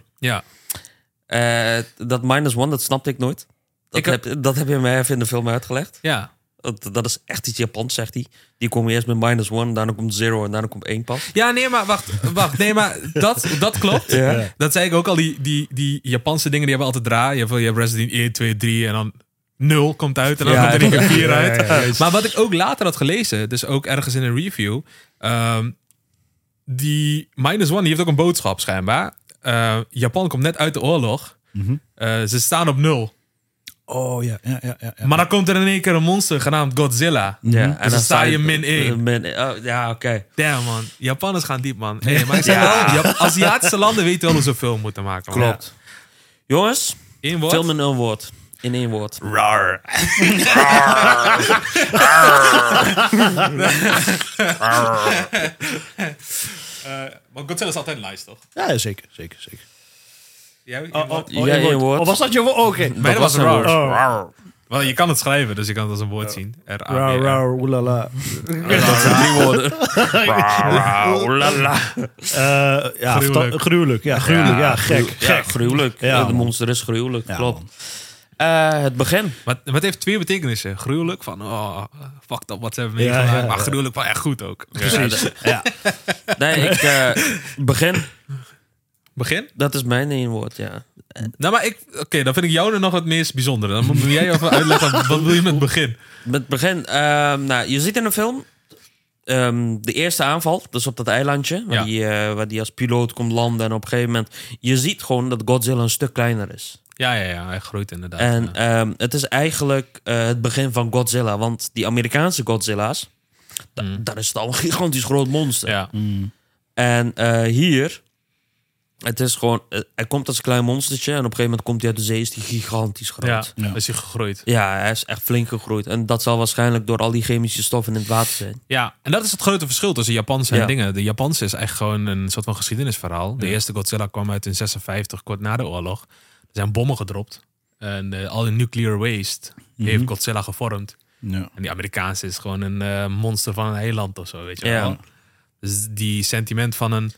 Eh, dat minus one, dat snapte ik nooit. Dat, Ik heb- heb... dat heb je mij even in de film uitgelegd. Ja. Dat, dat is echt iets Japans, zegt hij. Die komen eerst met minus one, daarna komt zero en daarna komt één pas. Ja, nee, maar wacht. wacht. Nee, maar dat, dat klopt. Ja. Dat zei ik ook al. Die, die, die Japanse dingen die hebben altijd draai. Je hebt, je hebt Resident 1, 2, 3 en dan 0 komt uit. En dan Ja, komt er niet ja, meer 4 uit. maar wat ik ook later had gelezen, dus ook ergens in een review. ehm, die Minus One die heeft ook een boodschap schijnbaar. Eh, Japan komt net uit de oorlog. Mhm. Eh, ze staan op nul. Oh ja, ja, ja. ja, ja. Maar dan komt er in één keer een monster genaamd Godzilla. Ja, en Mhm. Dus dan sta je min één. eh, min één. Oh, ja, oké. Damn man, Japanners gaan diep man. Hey, maar ik zeg wel, Jap- Aziatische landen weten wel hoe ze film moeten maken. man. Klopt. Jongens, Ja. Eén woord. film in een woord. In één woord. Rar. Want Godzilla is altijd nice, toch? Ja, zeker, zeker, zeker. Jij, Oh, Ja, één woord. Of was dat je woord? Oké. Bijna was was een rar. woord. Oh, Wel, je kan het schrijven, dus je kan het als een woord zien. rauw, R-A-B-R. rauw, oelala. Dat zijn drie woorden. Eh, ja, Gruwelijk. verta- gruwelijk. Ja, gruwelijk. Ja, gek, Ja, gek. gruwelijk. Ja, de man. monster is gruwelijk, Ja, klopt. man. Eh, het begin. Maar maar het heeft twee betekenissen. Gruwelijk, van oh, fuck dat, wat ze hebben Ja, meegemaakt. ja, Maar ja. gruwelijk, van echt goed ook. Precies. Ja. Nee, ik... eh, begin. Begin? Dat is mijn één woord, ja. Nou, maar ik... Oké, dan vind ik jou er nog het meest bijzondere. Dan moet jij even uitleggen, wat wil je met begin? Met begin... ehm, nou, je ziet in een film... ehm, de eerste aanval, dus op dat eilandje... Waar, Ja. die, eh, waar die als piloot komt landen en op een gegeven moment... Je ziet gewoon dat Godzilla een stuk kleiner is. Ja, ja, ja, hij groeit inderdaad. En ja. ehm, het is eigenlijk eh, het begin van Godzilla. Want die Amerikaanse Godzilla's... da- Daar is het al een gigantisch groot monster. Ja. En eh, hier Het is gewoon, eh, hij komt als een klein monstertje en op een gegeven moment komt hij uit de zee, is hij gigantisch Ja, groot. Ja. dan is hij gegroeid. hij is echt flink gegroeid. En dat zal waarschijnlijk door al die chemische stoffen in het water zijn. Ja, en dat is het grote verschil tussen Japanse en Ja. dingen. De Japanse is echt gewoon een soort van geschiedenisverhaal. De eerste Godzilla kwam uit in 56, kort na de oorlog. Er zijn bommen gedropt. En eh, al die nuclear waste heeft Godzilla gevormd. Ja. En die Amerikaanse is gewoon een eh, monster van een eiland of zo, weet je Ja. wel. Dus die sentiment van een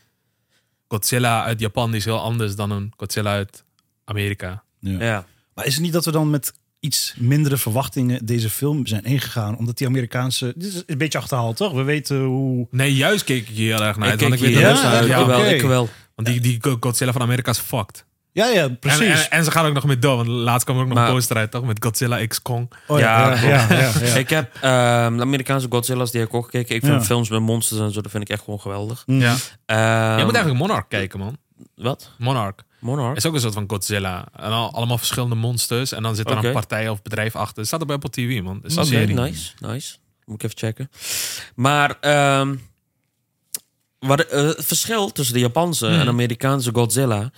Godzilla uit Japan die is heel anders dan een Godzilla uit Amerika. Ja. Ja, Maar is het niet dat we dan met iets mindere verwachtingen deze film zijn ingegaan? Omdat die Amerikaanse... Dit is een beetje achterhaald, toch? We weten hoe... Nee, juist keek ik hier heel erg naar uit. ik Want kijk ik weet hier dat ja, Russen uit- ik ja, wel, oké. ik wel. Want die, die Godzilla van Amerika is fucked. Ja, ja, En, precies. en, en ze gaan ook nog met door, want laatst kwam er ook nog Maar- een poster uit, toch? Met Godzilla X Kong. Oh, Ja, ja, ja, ja, ja. Ik heb ehm, de Amerikaanse Godzilla's die heb ik ook gekeken. Ik vind Ja. films met monsters en zo, dat vind ik echt gewoon geweldig. Mm. Ja. Ehm, Je moet eigenlijk Monarch kijken, man. Wat? Monarch Monarch? is ook een soort van Godzilla. En al- allemaal verschillende monsters. En dan zit er Oké. een partij of bedrijf achter. Het staat op Apple TV, man. Het is een Oké, nou. serie. nice, nice. Moet ik even checken. Maar ehm, wat, eh, het verschil tussen de Japanse en Amerikaanse Godzilla...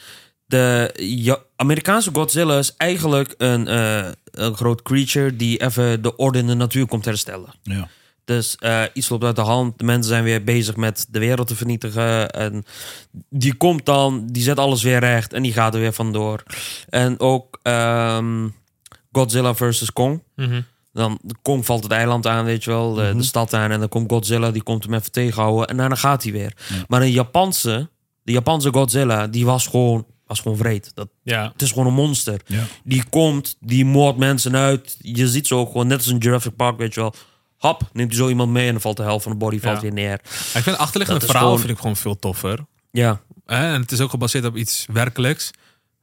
De Ja- Amerikaanse Godzilla is eigenlijk een, eh, een groot creature... die even de orde in de natuur komt herstellen. Ja. Dus eh, iets loopt uit de hand. De mensen zijn weer bezig met de wereld te vernietigen. En die komt dan, die zet alles weer recht en die gaat er weer vandoor. En ook ehm, Godzilla versus Kong. Mhm. Dan Kong valt het eiland aan, weet je wel, de, de stad aan. En dan komt Godzilla, die komt hem even tegenhouden. En daarna gaat hij weer. Maar een Japanse, de Japanse Godzilla, die was gewoon, was gewoon vreed. Dat, Ja. het is gewoon een monster. Ja. Die komt, die moordt mensen uit. Je ziet ze ook gewoon, net als in Jurassic Park, weet je wel. Hap, neemt hij zo iemand mee en dan valt de helft van de body valt Ja. weer neer. Ik vind het achterliggende Dat is verhaal gewoon- vind ik gewoon veel toffer. Ja, Hè, En het is ook gebaseerd op iets werkelijks.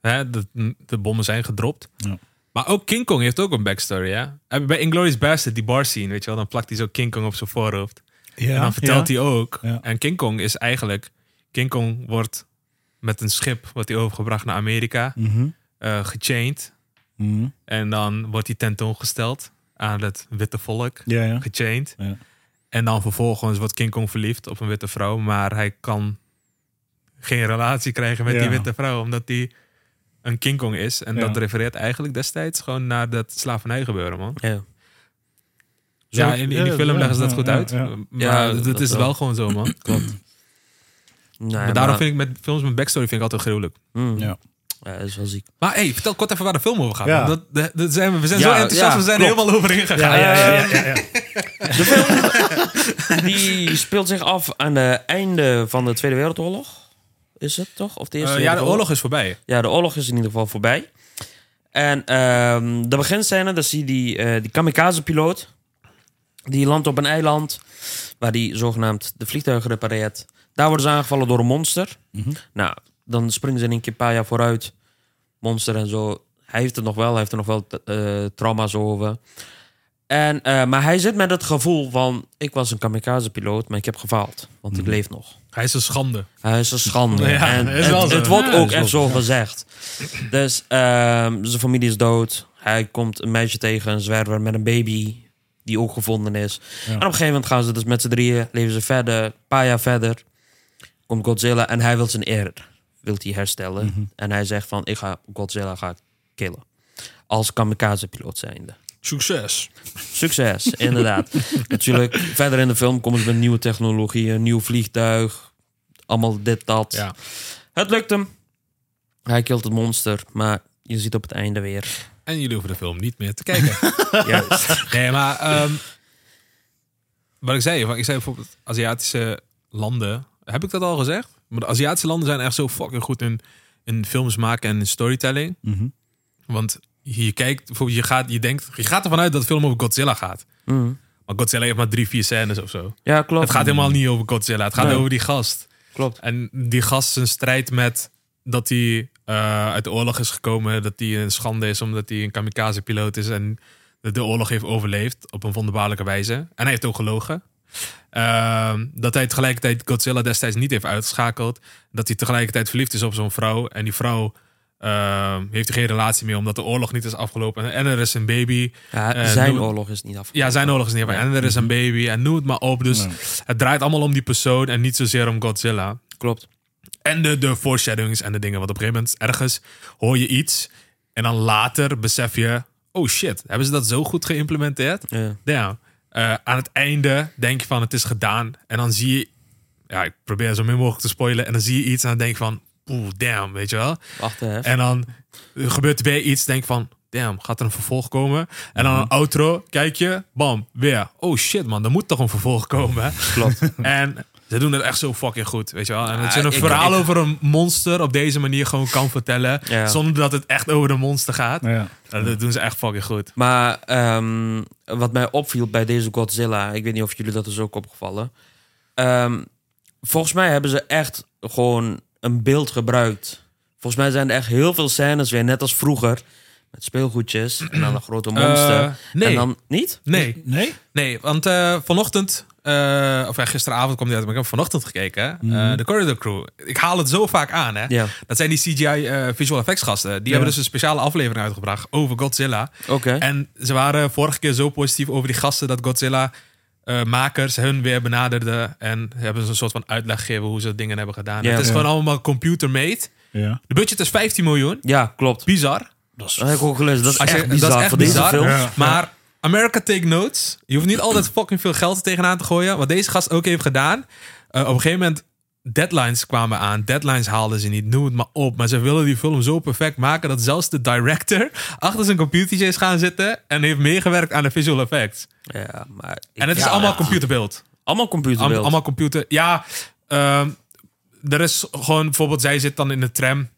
Hè, De, de bommen zijn gedropt. Ja. Maar ook King Kong heeft ook een backstory, ja. En Bij Inglourious Bastard, die bar scene, weet je wel. Dan plakt hij zo King Kong op zijn voorhoofd. en dan vertelt hij ook. Ja. En King Kong is eigenlijk... King Kong wordt met een schip, wordt hij overgebracht naar Amerika, Mhm. eh gechained. Mhm. En dan wordt hij tentoongesteld aan het witte volk, Ja, ja. gechained. Ja. En dan vervolgens wordt King Kong verliefd op een witte vrouw, maar hij kan geen relatie krijgen met Ja. die witte vrouw, omdat hij een King Kong is. En Ja. dat refereert eigenlijk destijds gewoon naar dat slavernijgebeuren, man. ja. Ja, in, in die ja, film ja, leggen ze dat ja, goed ja, uit. ja. Maar Ja, dat, dat is wel wel. gewoon zo, man. klopt. Nee, maar daarom vind ik met films met backstory vind ik altijd gruwelijk. Mm, Ja. ja, dat is wel ziek. Maar hey, vertel kort even waar de film over gaat. Ja. want Dat, dat- dat zijn we, we zijn Ja, zo enthousiast, ja, we zijn er klopt. helemaal over ingegaan. Eh, Ja, ja, ja, ja, ja. Die speelt zich af aan het einde van de Tweede Wereldoorlog. Is het toch? Of de Eerste Eh, ja, de oorlog is voorbij. Ja, de oorlog is in ieder geval voorbij. En ehm de beginscène, daar zie je die, eh, die kamikaze-piloot. Die landt op een eiland waar die zogenaamd de vliegtuigen repareert. Daar worden ze aangevallen door een monster. Nou, dan springen ze in een keer een paar jaar vooruit. Monster en zo. Hij heeft het nog wel, hij heeft er nog wel eh, trauma's over. En, eh, maar hij zit met het gevoel van... ik was een kamikaze-piloot, maar ik heb gefaald. Want ik leef nog. Hij is een schande. Hij is een schande. Ja, en is het, wel zo. het wordt Ja, ook is echt wel zo gezegd. Dus ehm, zijn familie is dood. Hij komt een meisje tegen, een zwerver met een baby. Die ook gevonden is. En op een gegeven moment gaan ze dus met z'n drieën. Leven ze verder. Een paar jaar verder. Komt Godzilla en hij wil zijn eer. Wilt hij herstellen. Mhm. En hij zegt van, ik ga Godzilla ga ik killen. Als kamikaze-piloot zijnde. Succes. Succes, inderdaad. Natuurlijk, verder in de film komen ze met nieuwe technologieën, nieuw vliegtuig, allemaal dit, dat. Ja. Het lukt hem. Hij kilt het monster, maar je ziet op het einde weer. En jullie hoeven de film niet meer te kijken. Juist. nee, maar ehm, wat ik zei, van- ik zei bijvoorbeeld Aziatische landen. Heb ik dat al gezegd? Maar de Aziatische landen zijn echt zo fucking goed in, in films maken en in storytelling. Mhm. Want je kijkt, bijvoorbeeld, je gaat, je denkt, je gaat ervan uit dat de film over Godzilla gaat. Mm. Maar Godzilla heeft maar drie, vier scènes of zo. Ja, klopt. Het gaat helemaal niet over Godzilla. Het gaat Nee. over die gast. Klopt. En die gast zijn strijd met dat hij eh, uit de oorlog is gekomen. Dat hij een schande is omdat hij een kamikaze piloot is. En de, de oorlog heeft overleefd op een wonderbaarlijke wijze. En hij heeft ook gelogen. Ehm, dat hij tegelijkertijd Godzilla destijds niet heeft uitgeschakeld. Dat hij tegelijkertijd verliefd is op zo'n vrouw. En die vrouw ehm, heeft er geen relatie meer omdat de oorlog niet is afgelopen. En, en er is een baby. Ja, Eh, zijn doe- oorlog is niet af. Ja, zijn oorlog is niet afgelopen. En er is een baby. En noem het maar op. Dus Nee. het draait allemaal om die persoon en niet zozeer om Godzilla. Klopt. En de, de foreshadowings en de dingen. Want op een gegeven moment ergens hoor je iets. En dan later besef je... Oh shit, hebben ze dat zo goed geïmplementeerd? Ja. Ja. Eh, aan het einde denk je van het is gedaan. En dan zie je... Ja, ik probeer zo min mogelijk te spoilen. En dan zie je iets en dan denk je van... Oeh, damn, weet je wel? Wacht even. En dan gebeurt er weer iets. Denk van, damn, gaat er een vervolg komen? En dan Mhm. een outro, kijk je, bam, weer. Oh shit man, er moet toch een vervolg komen? Klopt. en ze doen het echt zo fucking goed, weet je wel. En dat je Ah, een ik- verhaal ik- over een monster op deze manier gewoon kan vertellen. Ja. Zonder dat het echt over de monster gaat. Ja. Nou, Dat doen ze echt fucking goed. Maar ehm, wat mij opviel bij deze Godzilla, ik weet niet of jullie dat is ook opgevallen. Ehm, volgens mij hebben ze echt gewoon een beeld gebruikt. Volgens mij zijn er echt heel veel scènes weer, net als vroeger. Met speelgoedjes en dan een grote monster. Eh, nee. En dan niet? Nee, Nee? nee, want eh, vanochtend... eh, of ja, gisteravond kwam die uit, maar ik heb vanochtend gekeken. hè. Mhm. Eh, de Corridor Crew. Ik haal het zo vaak aan, hè. Ja, Dat zijn die CGI eh, visual effects gasten. Die hebben dus een speciale aflevering uitgebracht over Godzilla. oké. En ze waren vorige keer zo positief over die gasten dat Godzilla eh, makers hun weer benaderden. En hebben ze een soort van uitleg gegeven hoe ze dingen hebben gedaan. Ja. het is Ja. gewoon allemaal computer made. Ja. De budget is 15 miljoen. Ja, klopt. Bizar. Dat heb ik ook gelezen. Dat is Als je- echt bizar dat is echt voor deze bizar. film. Ja. Maar America Take Notes. Je hoeft niet altijd fucking veel geld er tegenaan te gooien. Wat deze gast ook heeft gedaan. eh, op een gegeven moment. Deadlines kwamen aan. Deadlines haalden ze niet. Noem het maar op. Maar ze willen die film zo perfect maken. dat zelfs de director. achter zijn computertje is gaan zitten. en heeft meegewerkt aan de visual effects. Ja, maar ik- En het is ja, allemaal ja. computerbeeld. Allemaal Am- computerbeeld. allemaal computer. Ja, ehm, er is gewoon bijvoorbeeld, zij zit dan in de tram.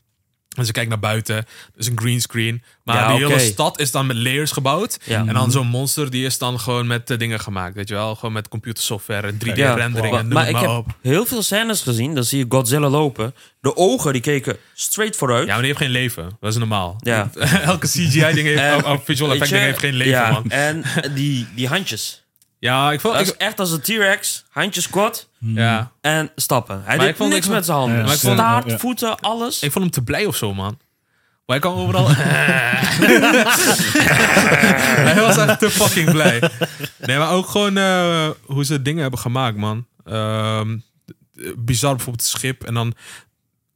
En ze kijkt naar buiten. Dus een green screen. Maar Ja, die oké. hele stad is dan met layers gebouwd. Ja. En dan zo'n monster, die is dan gewoon met eh, dingen gemaakt. Weet je wel? Gewoon met computersoftware, Ja, 3D-renderingen. maar, noem maar het ik maar heb op. heel veel scènes gezien. Dan zie je Godzilla lopen. De ogen die keken straight vooruit. Ja, maar die heeft geen leven. Dat is normaal. Ja. Elke CGI-ding heeft, En- of- of visual Weet effect-ding je? heeft geen leven, Ja, man. En die, die handjes. Ja, ik vond... Dat Ik, is echt als een T-Rex. Handjes kort ja. en stappen. Hij ik deed vond- niks ik vond- met zijn handen. Ja, maar ik vond- Staart, ja. voeten, alles. ik vond hem te blij of zo, man. Maar hij kan overal... hij was echt te fucking blij. Nee, maar ook gewoon eh, hoe ze dingen hebben gemaakt, man. Ehm, bizar bijvoorbeeld het schip. En dan...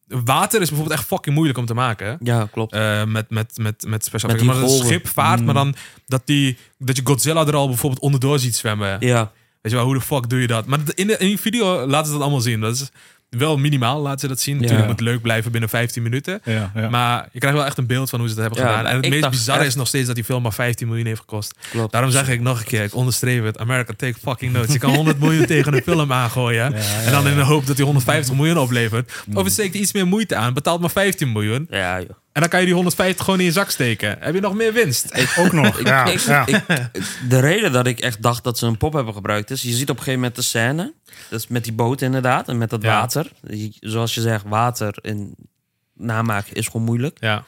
Water is bijvoorbeeld echt fucking moeilijk om te maken. hè? ja, klopt. Eh, met, met, met, met special Met effects. Maar die dat het golven. Mm. schip vaart, maar dan dat, die, dat je Godzilla er al bijvoorbeeld onderdoor ziet zwemmen. ja. Weet je wel, hoe de fuck doe je dat? Maar in, de, in die video laten ze dat allemaal zien. Dat is wel minimaal, laten ze dat zien. Natuurlijk moet het leuk blijven binnen 15 minuten. Ja, ja. Maar je krijgt wel echt een beeld van hoe ze dat hebben Ja, gedaan. En het ik meest dacht bizarre echt- is nog steeds dat die film maar 15 miljoen heeft gekost. Klopt. Daarom zeg ik nog een keer, ik onderstreep het. America take fucking notes. Je kan 100 miljoen tegen een film aangooien. En dan in de hoop dat die Mm. 150 miljoen oplevert. Of het steekt iets meer moeite aan. Betaalt maar 15 miljoen. Ja, joh. En dan kan je die 150 gewoon in je zak steken. Heb je nog meer winst? Ook nog. ja. Ik- ja. ik- de reden dat ik echt dacht dat ze een pop hebben gebruikt is... je ziet op een gegeven moment de scène. Dat is met die boot inderdaad en met dat Ja. water. Je- Zoals je zegt, water in namaken is gewoon moeilijk. Ja.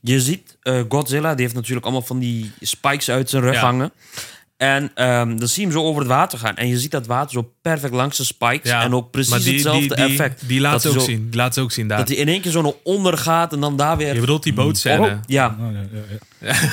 Je ziet eh, Godzilla, die heeft natuurlijk allemaal van die spikes uit zijn rug Ja. hangen. En ehm, dan zie je hem zo over het water gaan. En je ziet dat water zo perfect langs de spikes. ja. En ook precies Maar die- hetzelfde die, die, effect. Die laat Dat ze hij ook zo- zien. Die laat ze ook zien daar. Dat hij in één keer zo naar onder gaat en dan daar weer... Je bedoelt die Hmm. bootscène. Oh, ja, Oh, ja, ja, ja.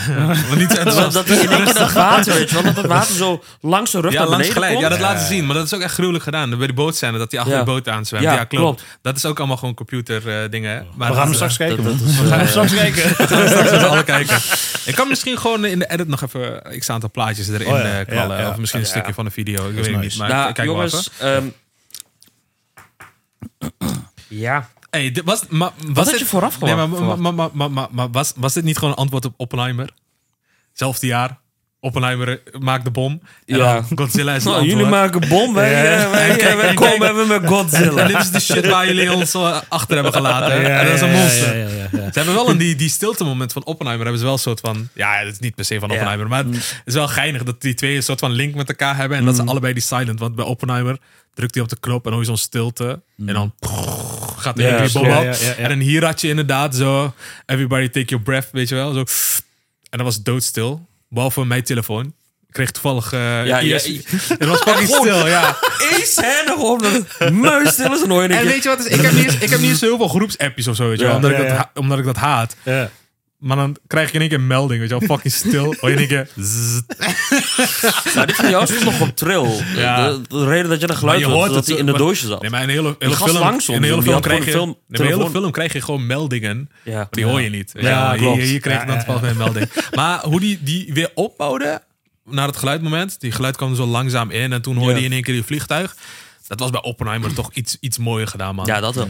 Oh. Maar niet zo dat, enthousiast. dat hij in één keer dat water, weet je wel, Dat het water zo langs zijn rug ja, naar langs beneden glijdt. komt. Ja, dat laten ze zien. Maar dat is ook echt gruwelijk gedaan. Bij die bootscène, dat hij achter Ja. de boot aanzwemt. Ja, Ja, klopt. klopt. Dat is ook allemaal gewoon computer eh, dingen. hè. Maar We gaan hem dat- straks kijken, dat man. is, We gaan hem eh, straks kijken. we gaan straks met z'n allen kijken. Ik kan misschien gewoon in de edit nog even eh, x aantal plaatjes erin Oh ja, eh, knallen. ja, ja. Of misschien een stukje van een video. Ik weet het nice. niet. Maar Nou, ik kijk wel even. jongens... ehm, ja, Hey, dit was, maar, was had dit- je vooraf nee, maar, gewacht- maar, verwacht? maar, maar, maar, maar- maar was, was dit niet gewoon een antwoord op Oppenheimer? Zelfde jaar. Oppenheimer eh, maakt de bom. En Ja. dan Godzilla is het Nou, jullie antwoord. maken bom, wij, eh, wij, eh, wij komen even met Godzilla. En dit is de shit waar jullie ons eh, achter hebben gelaten. en dat is een monster. Ja, ja, ja, ja. Ze hebben wel in die, die stilte moment van Oppenheimer hebben ze wel een soort van. Ja, het is niet per se van Oppenheimer. Maar Mm. het is wel geinig dat die twee een soort van link met elkaar hebben. En dat ze allebei die silent. Want bij Oppenheimer drukt hij op de knop en hoor je zo'n stilte. En dan gaat de Ja, hele bom Mm. ja, op. ja, ja, ja. En dan hier had je inderdaad zo. Everybody take your breath, weet je wel. Zo. En dat was doodstil. Behalve mijn telefoon. Ik kreeg toevallig. eh Ja, ja, IS. Het was fucking stil, ja. Eén scène gewoon dat het muisstil is en hoor je een En keer- weet je wat is? Ik heb niet eens, ik heb niet eens heel veel groepsappjes of zo, weet je Ja. wel, omdat, Ja, ik dat ja. ha- omdat ik dat haat. Ja. Maar dan krijg je in één keer een melding, weet je wel, fucking stil. Hoor je in één keer... zzzt. Nou, dit van jou is nog op trill. Ja. De, de reden dat je dat geluid Maar je hoort, hoort dat, het, hij in de maar- doosje zat. Nee, maar in de hele, hele gast film, langs ons, in de hele die film had gewoon krijg je, een film- nee, maar in de hele telefoon. film kreeg je gewoon meldingen. ja. Die hoor je niet. Ja, klopt. Hier, hier kreeg ik dan pas een melding. Maar hoe die, die weer opbouwde naar het geluidmoment. Die geluid kwam er zo langzaam in. En toen hoorde Ja. je in één keer die vliegtuig. Dat was bij Oppenheimer toch iets, iets mooier gedaan, man. Mm, Ja, dat wel.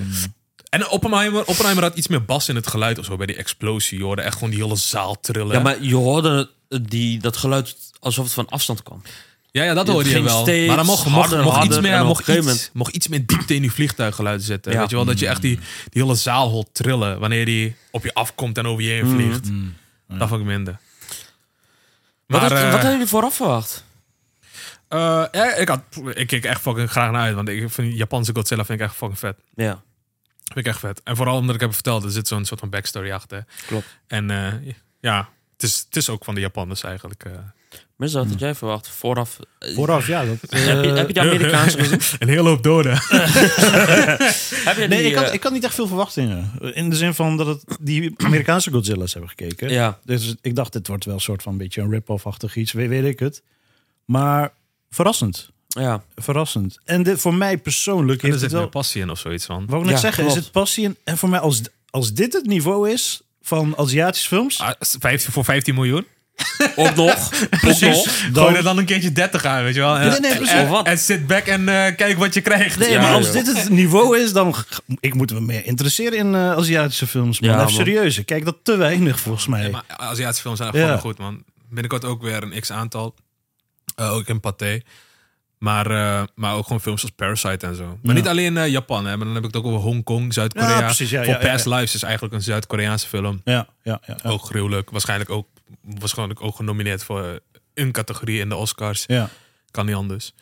En Oppenheimer, Oppenheimer had iets meer bas in het geluid of zo bij die explosie. Je hoorde echt gewoon die hele zaal trillen. Ja, maar je hoorde het- die, dat geluid alsof het van afstand kwam. ja, ja, dat het hoorde je ging wel. steeds Maar dan mocht, mocht, harder, mocht harder iets en meer, op een mocht, gegeven iets, moment- mocht iets meer diepte in die vliegtuiggeluiden zetten. Ja. Weet je wel, dat je echt die, die hele zaal hoort trillen wanneer die op je afkomt en over je Mm. heen vliegt. Dat vond ik minder. Wat, had- eh, wat hadden jullie vooraf verwacht? Eh, ja, ik, had, ik keek echt fucking graag naar uit. Want ik vind Japanse Godzilla vind ik echt fucking vet. Ja, Vind ik echt vet. En vooral omdat ik heb verteld, er zit zo'n soort van backstory achter. klopt. En eh, ja, het is, het is ook van de Japanners eigenlijk. eh. Mensen, wat had jij verwacht vooraf? eh, Vooraf, ja. Dat, heb, je, heb je de eh, Amerikaanse gezien? Een hele hoop doden. Heb je Nee, die, ik had, eh, ik had niet echt veel verwachtingen. In de zin van dat het die Amerikaanse Godzilla's hebben gekeken. Ja. Dus ik dacht, dit wordt wel een soort van een beetje een rip-off-achtig iets, weet, weet ik het. Maar verrassend. ja. Verrassend. En dit, voor mij persoonlijk En er heeft zit het meer wel... passie in of zoiets van. Wat ik net Ja, zeggen, klopt. is het passie. En, en voor mij, als, als dit het niveau is van Aziatische films... Ah, s- 15 voor 15 miljoen? Ook nog. Ook nog. Dan... Gooi er dan een keertje 30 aan, weet je wel. En, Nee, nee, en- precies. en, Of wat? en sit back en eh, kijk wat je krijgt. Nee, Ja, maar als joh. dit het niveau is, dan... g- Ik moet me meer interesseren in eh, Aziatische films. Man. Ja, Even man. serieus. Ik kijk dat te weinig, volgens mij. Maar Aziatische films zijn Ja. gewoon goed, man. Binnenkort ook weer een x-aantal. Eh, ook in Pathé. Maar, eh, maar ook gewoon films als Parasite en zo. Maar Ja. niet alleen eh, Japan, hè. Maar dan heb ik het ook over Hongkong, Zuid-Korea. Ja, precies, ja, Voor ja, ja, Past Lives is eigenlijk een Zuid-Koreaanse film. ja, ja, ja. ja. Ook gruwelijk. Waarschijnlijk ook, waarschijnlijk ook genomineerd voor eh, een categorie in de Oscars. ja. Kan niet anders.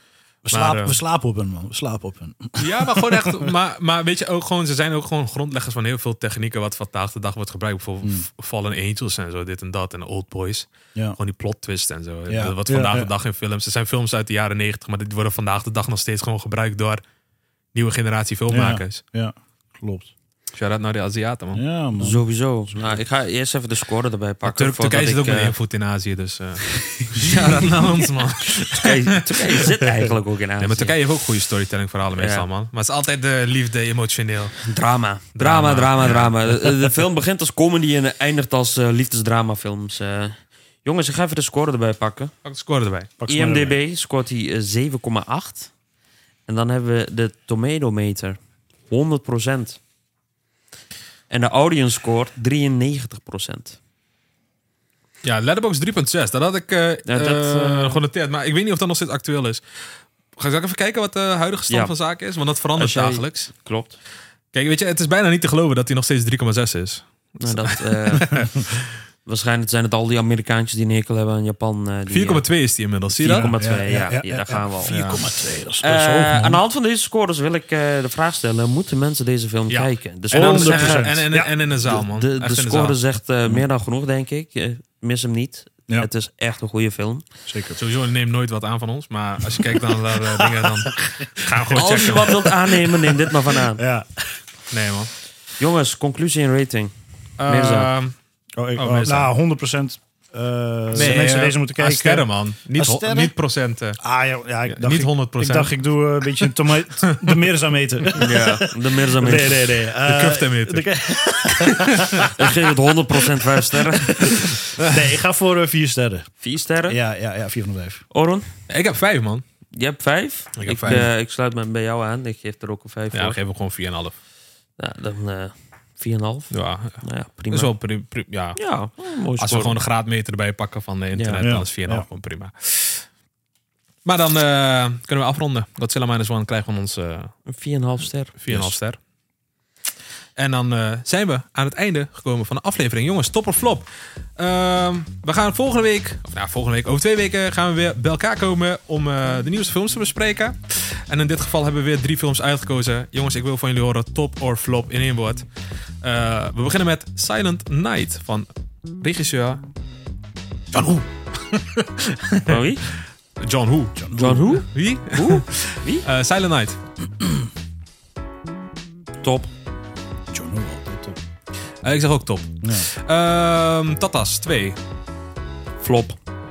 We, slapen, eh, we slapen op hen, man. We slapen op hen. Ja, maar gewoon echt. Maar, maar weet je ook gewoon, ze zijn ook gewoon grondleggers van heel veel technieken wat vandaag de dag wordt gebruikt. Bijvoorbeeld Hmm. Fallen Angels en zo, dit en dat. En Old Boys. Ja. Gewoon die plot twist en zo. Ja. Dat Wat Ja, vandaag ja. de dag in films. Er zijn films uit de jaren 90, maar die worden vandaag de dag nog steeds gewoon gebruikt door nieuwe generatie filmmakers. Ja, klopt. Shout out naar de Aziaten, man. Ja, man. Sowieso. Nou, ik ga eerst even de score erbij pakken. Turk, voordat Turkije zit ik, ook met eh, een voet in Azië, dus. eh shout out naar ons, man. Turkije, Turkije zit eigenlijk ook in Azië. Nee, maar Turkije heeft ook goede storytelling verhalen meestal, Ja. man. Maar het is altijd de liefde, emotioneel. Drama. Drama, drama, drama. De, de film begint als comedy en eindigt als eh, liefdesdramafilms. eh. jongens, ik ga even de score erbij pakken. Pak de score erbij. Pak ze maar erbij. IMDB scoort hij eh, 7,8. En dan hebben we de tomatometer. 100%. En de audience score 93%. Ja, Letterboxd 3.6. Dat had ik eh dat, eh, eh, genoteerd. Maar ik weet niet of dat nog steeds actueel is. Ga ik even kijken wat de huidige stand Ja. van zaken is? Want dat verandert Als jij- dagelijks. Klopt. Kijk, weet je, het is bijna niet te geloven dat hij nog steeds 3,6 is. Nou, dat, eh, waarschijnlijk zijn het al die Amerikaantjes die een hekel hebben aan Japan. eh, 4,2 die, eh, is die inmiddels. Zie je dat? 4,2, ja, Ja, ja, ja, ja, daar gaan we al. 4,2, dat is Eh, dat is hoog, aan man. de hand van deze scores wil ik eh, de vraag stellen: moeten mensen deze film Ja. kijken? De En, dan- score, zegt, en, en, en, Ja. en in een zaal, man. de, de Echt in een score zaal. zegt eh, meer dan genoeg, denk ik. Je mis hem niet. Ja. Het is echt een goede film. Zeker. Sowieso neem nooit wat aan van ons. Maar als je kijkt naar eh, dingen, dan ga hem gewoon Als je checken. wat man. wilt aannemen, neem dit maar van aan. Ja. Nee, man. Jongens, conclusie en rating. Mirza. Ehm, Oh, ik, Oh, oh, meestal. nou, 100 procent. nee, mensen eh, deze moeten aan kijken. Sterren, man. Niet, Aan ho- sterren? niet eh. procenten. Ah, ja, ja, ik dacht, niet ik- 100%. Ik dacht, ik doe eh, een beetje een tomaat. de mirza meten. Ja, de Mirza Mix. Nee, nee, nee. Eh, kuftemeter. de ke- Ik geef het 100% 5 sterren. nee, ik ga voor eh, vier sterren. 4 sterren. Ja, ja, ja, vier van de vijf. Oron, Ik heb vijf, man. je hebt 5. heb vijf. ik sluit me bij jou aan. Ik geef er ook een 5 Ja, voor. we geven hem gewoon 4,5. Nou, dan eh 4,5. Ja, Nou ja, dat prima. is wel pri- pri- ja, Ja, een mooi Als we score. gewoon de graadmeter erbij pakken van de internet, Ja. dan is 4,5 Ja. gewoon prima. Maar dan eh, kunnen we afronden. Godzilla Minus One krijgt van ons eh 4,5 Een 4,5 ster. ster. En dan eh, zijn we aan het einde gekomen van de aflevering. Jongens, top of flop. Ehm, we gaan volgende week, of nou volgende week, over twee weken gaan we weer bij elkaar komen om eh, de nieuwste films te bespreken. En in dit geval hebben we weer drie films uitgekozen. Jongens, ik wil van jullie horen top of flop in één woord. Eh, we beginnen met Silent Night van regisseur John Woo. Van wie? John Woo. John Who? Wie? Who? Wie? Eh, Silent Night. Top. John Woo, altijd top. Eh, ik zeg ook top. Ehm, Tatas, 2. Flop. Moet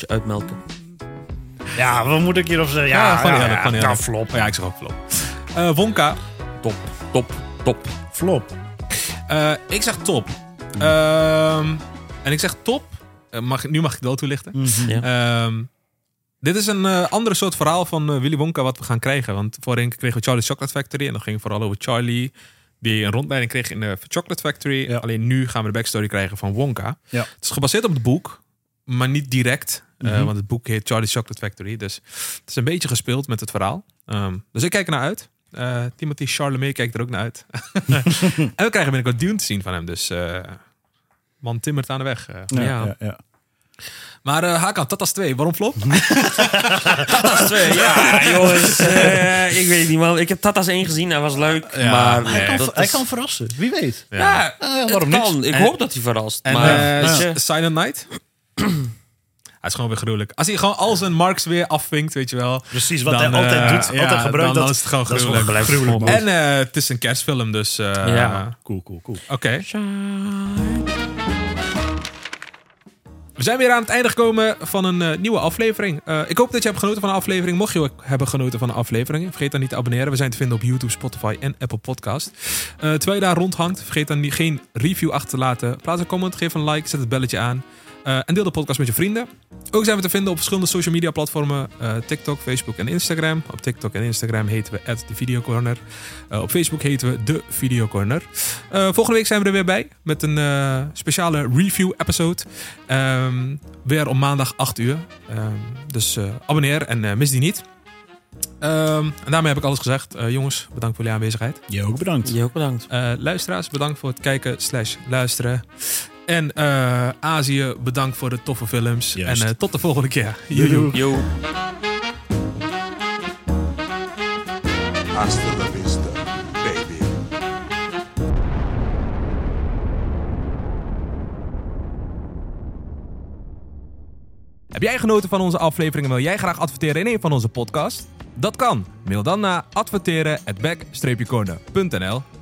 je uitmelken. Ja, wat moet ik hierover zeggen? Ah, Ja, Ja, gewoon ja, eerlijk, ja, gewoon eerlijk. ja, flop. Ja, ik zeg ook flop. Eh, Wonka, Top, top, top. Flop. Eh, ik zeg top. Hmm. Ehm, en ik zeg top. Eh, Mag, nu mag ik het wel toelichten. Hmm. Ja. Ehm, dit is een eh, andere soort verhaal van eh, Willy Wonka wat we gaan krijgen. Want voorheen kregen we Charlie's Chocolate Factory. En dat ging vooral over Charlie. Die een rondleiding kreeg in de Chocolate Factory. Ja. Alleen nu gaan we de backstory krijgen van Wonka. Ja. Het is gebaseerd op het boek. Maar niet direct. eh, Mhm. want het boek heet Charlie's Chocolate Factory. Dus het is een beetje gespeeld met het verhaal. Ehm, dus ik kijk er naar uit. Eh, Timothy Charlemagne kijkt er ook naar uit. en we krijgen binnenkort Dune te zien van hem. Dus eh man timmert aan de weg. eh. Ja, Ja. ja, ja. Maar eh Hakan, Tatas 2, waarom flop? Twee, ja, jongens. eh, ik weet het niet, man. Ik heb Tata's 1 gezien, hij was leuk. Ja, maar hij nee, Hij, kan, dat hij is- kan verrassen, wie weet. Ja, het waarom kan. niet? Ik En- hoop dat hij verrast. En maar, eh, weet S- je, Silent Night? hij is gewoon weer gruwelijk. Als hij gewoon al zijn marks weer afvinkt, weet je wel. Precies, wat Dan, hij altijd eh, doet, ja, altijd dan- gebruikt. dat, dan is het gewoon dat gewoon gruwelijk. gruwelijk, man. En eh, het is een kerstfilm, dus... eh, Ja. Cool, cool, cool. Oké. We zijn weer aan het einde gekomen van een eh, nieuwe aflevering. Eh, ik hoop dat je hebt genoten van de aflevering. Mocht je ook hebben genoten van de aflevering, vergeet dan niet te abonneren. We zijn te vinden op YouTube, Spotify en Apple Podcast. Eh, terwijl je daar rondhangt, vergeet dan niet, geen review achter te laten. Plaats een comment, geef een like, zet het belletje aan. eh, en deel de podcast met je vrienden. Ook zijn we te vinden op verschillende social media platformen. eh, TikTok, Facebook en Instagram. Op TikTok en Instagram heten we de Videocorner. Eh, op Facebook heten we De Videocorner. Eh, volgende week zijn we er weer bij met een eh, speciale review-episode. Ehm, weer om maandag 8 uur. Ehm, dus eh, abonneer en eh, mis die niet. Ehm, en daarmee heb ik alles gezegd. Eh, jongens, bedankt voor jullie aanwezigheid. Je ook bedankt. je ook bedankt. Eh, luisteraars, bedankt voor het kijken slash luisteren. En eh, Azië, bedankt voor de toffe films. Juist. En eh, tot de volgende keer. Doei, doei. Yo. Hasta la vista, baby. Heb jij genoten van onze aflevering en wil jij graag adverteren in een van onze podcasts? Dat kan. Mail dan naar adverteren at back-corner.nl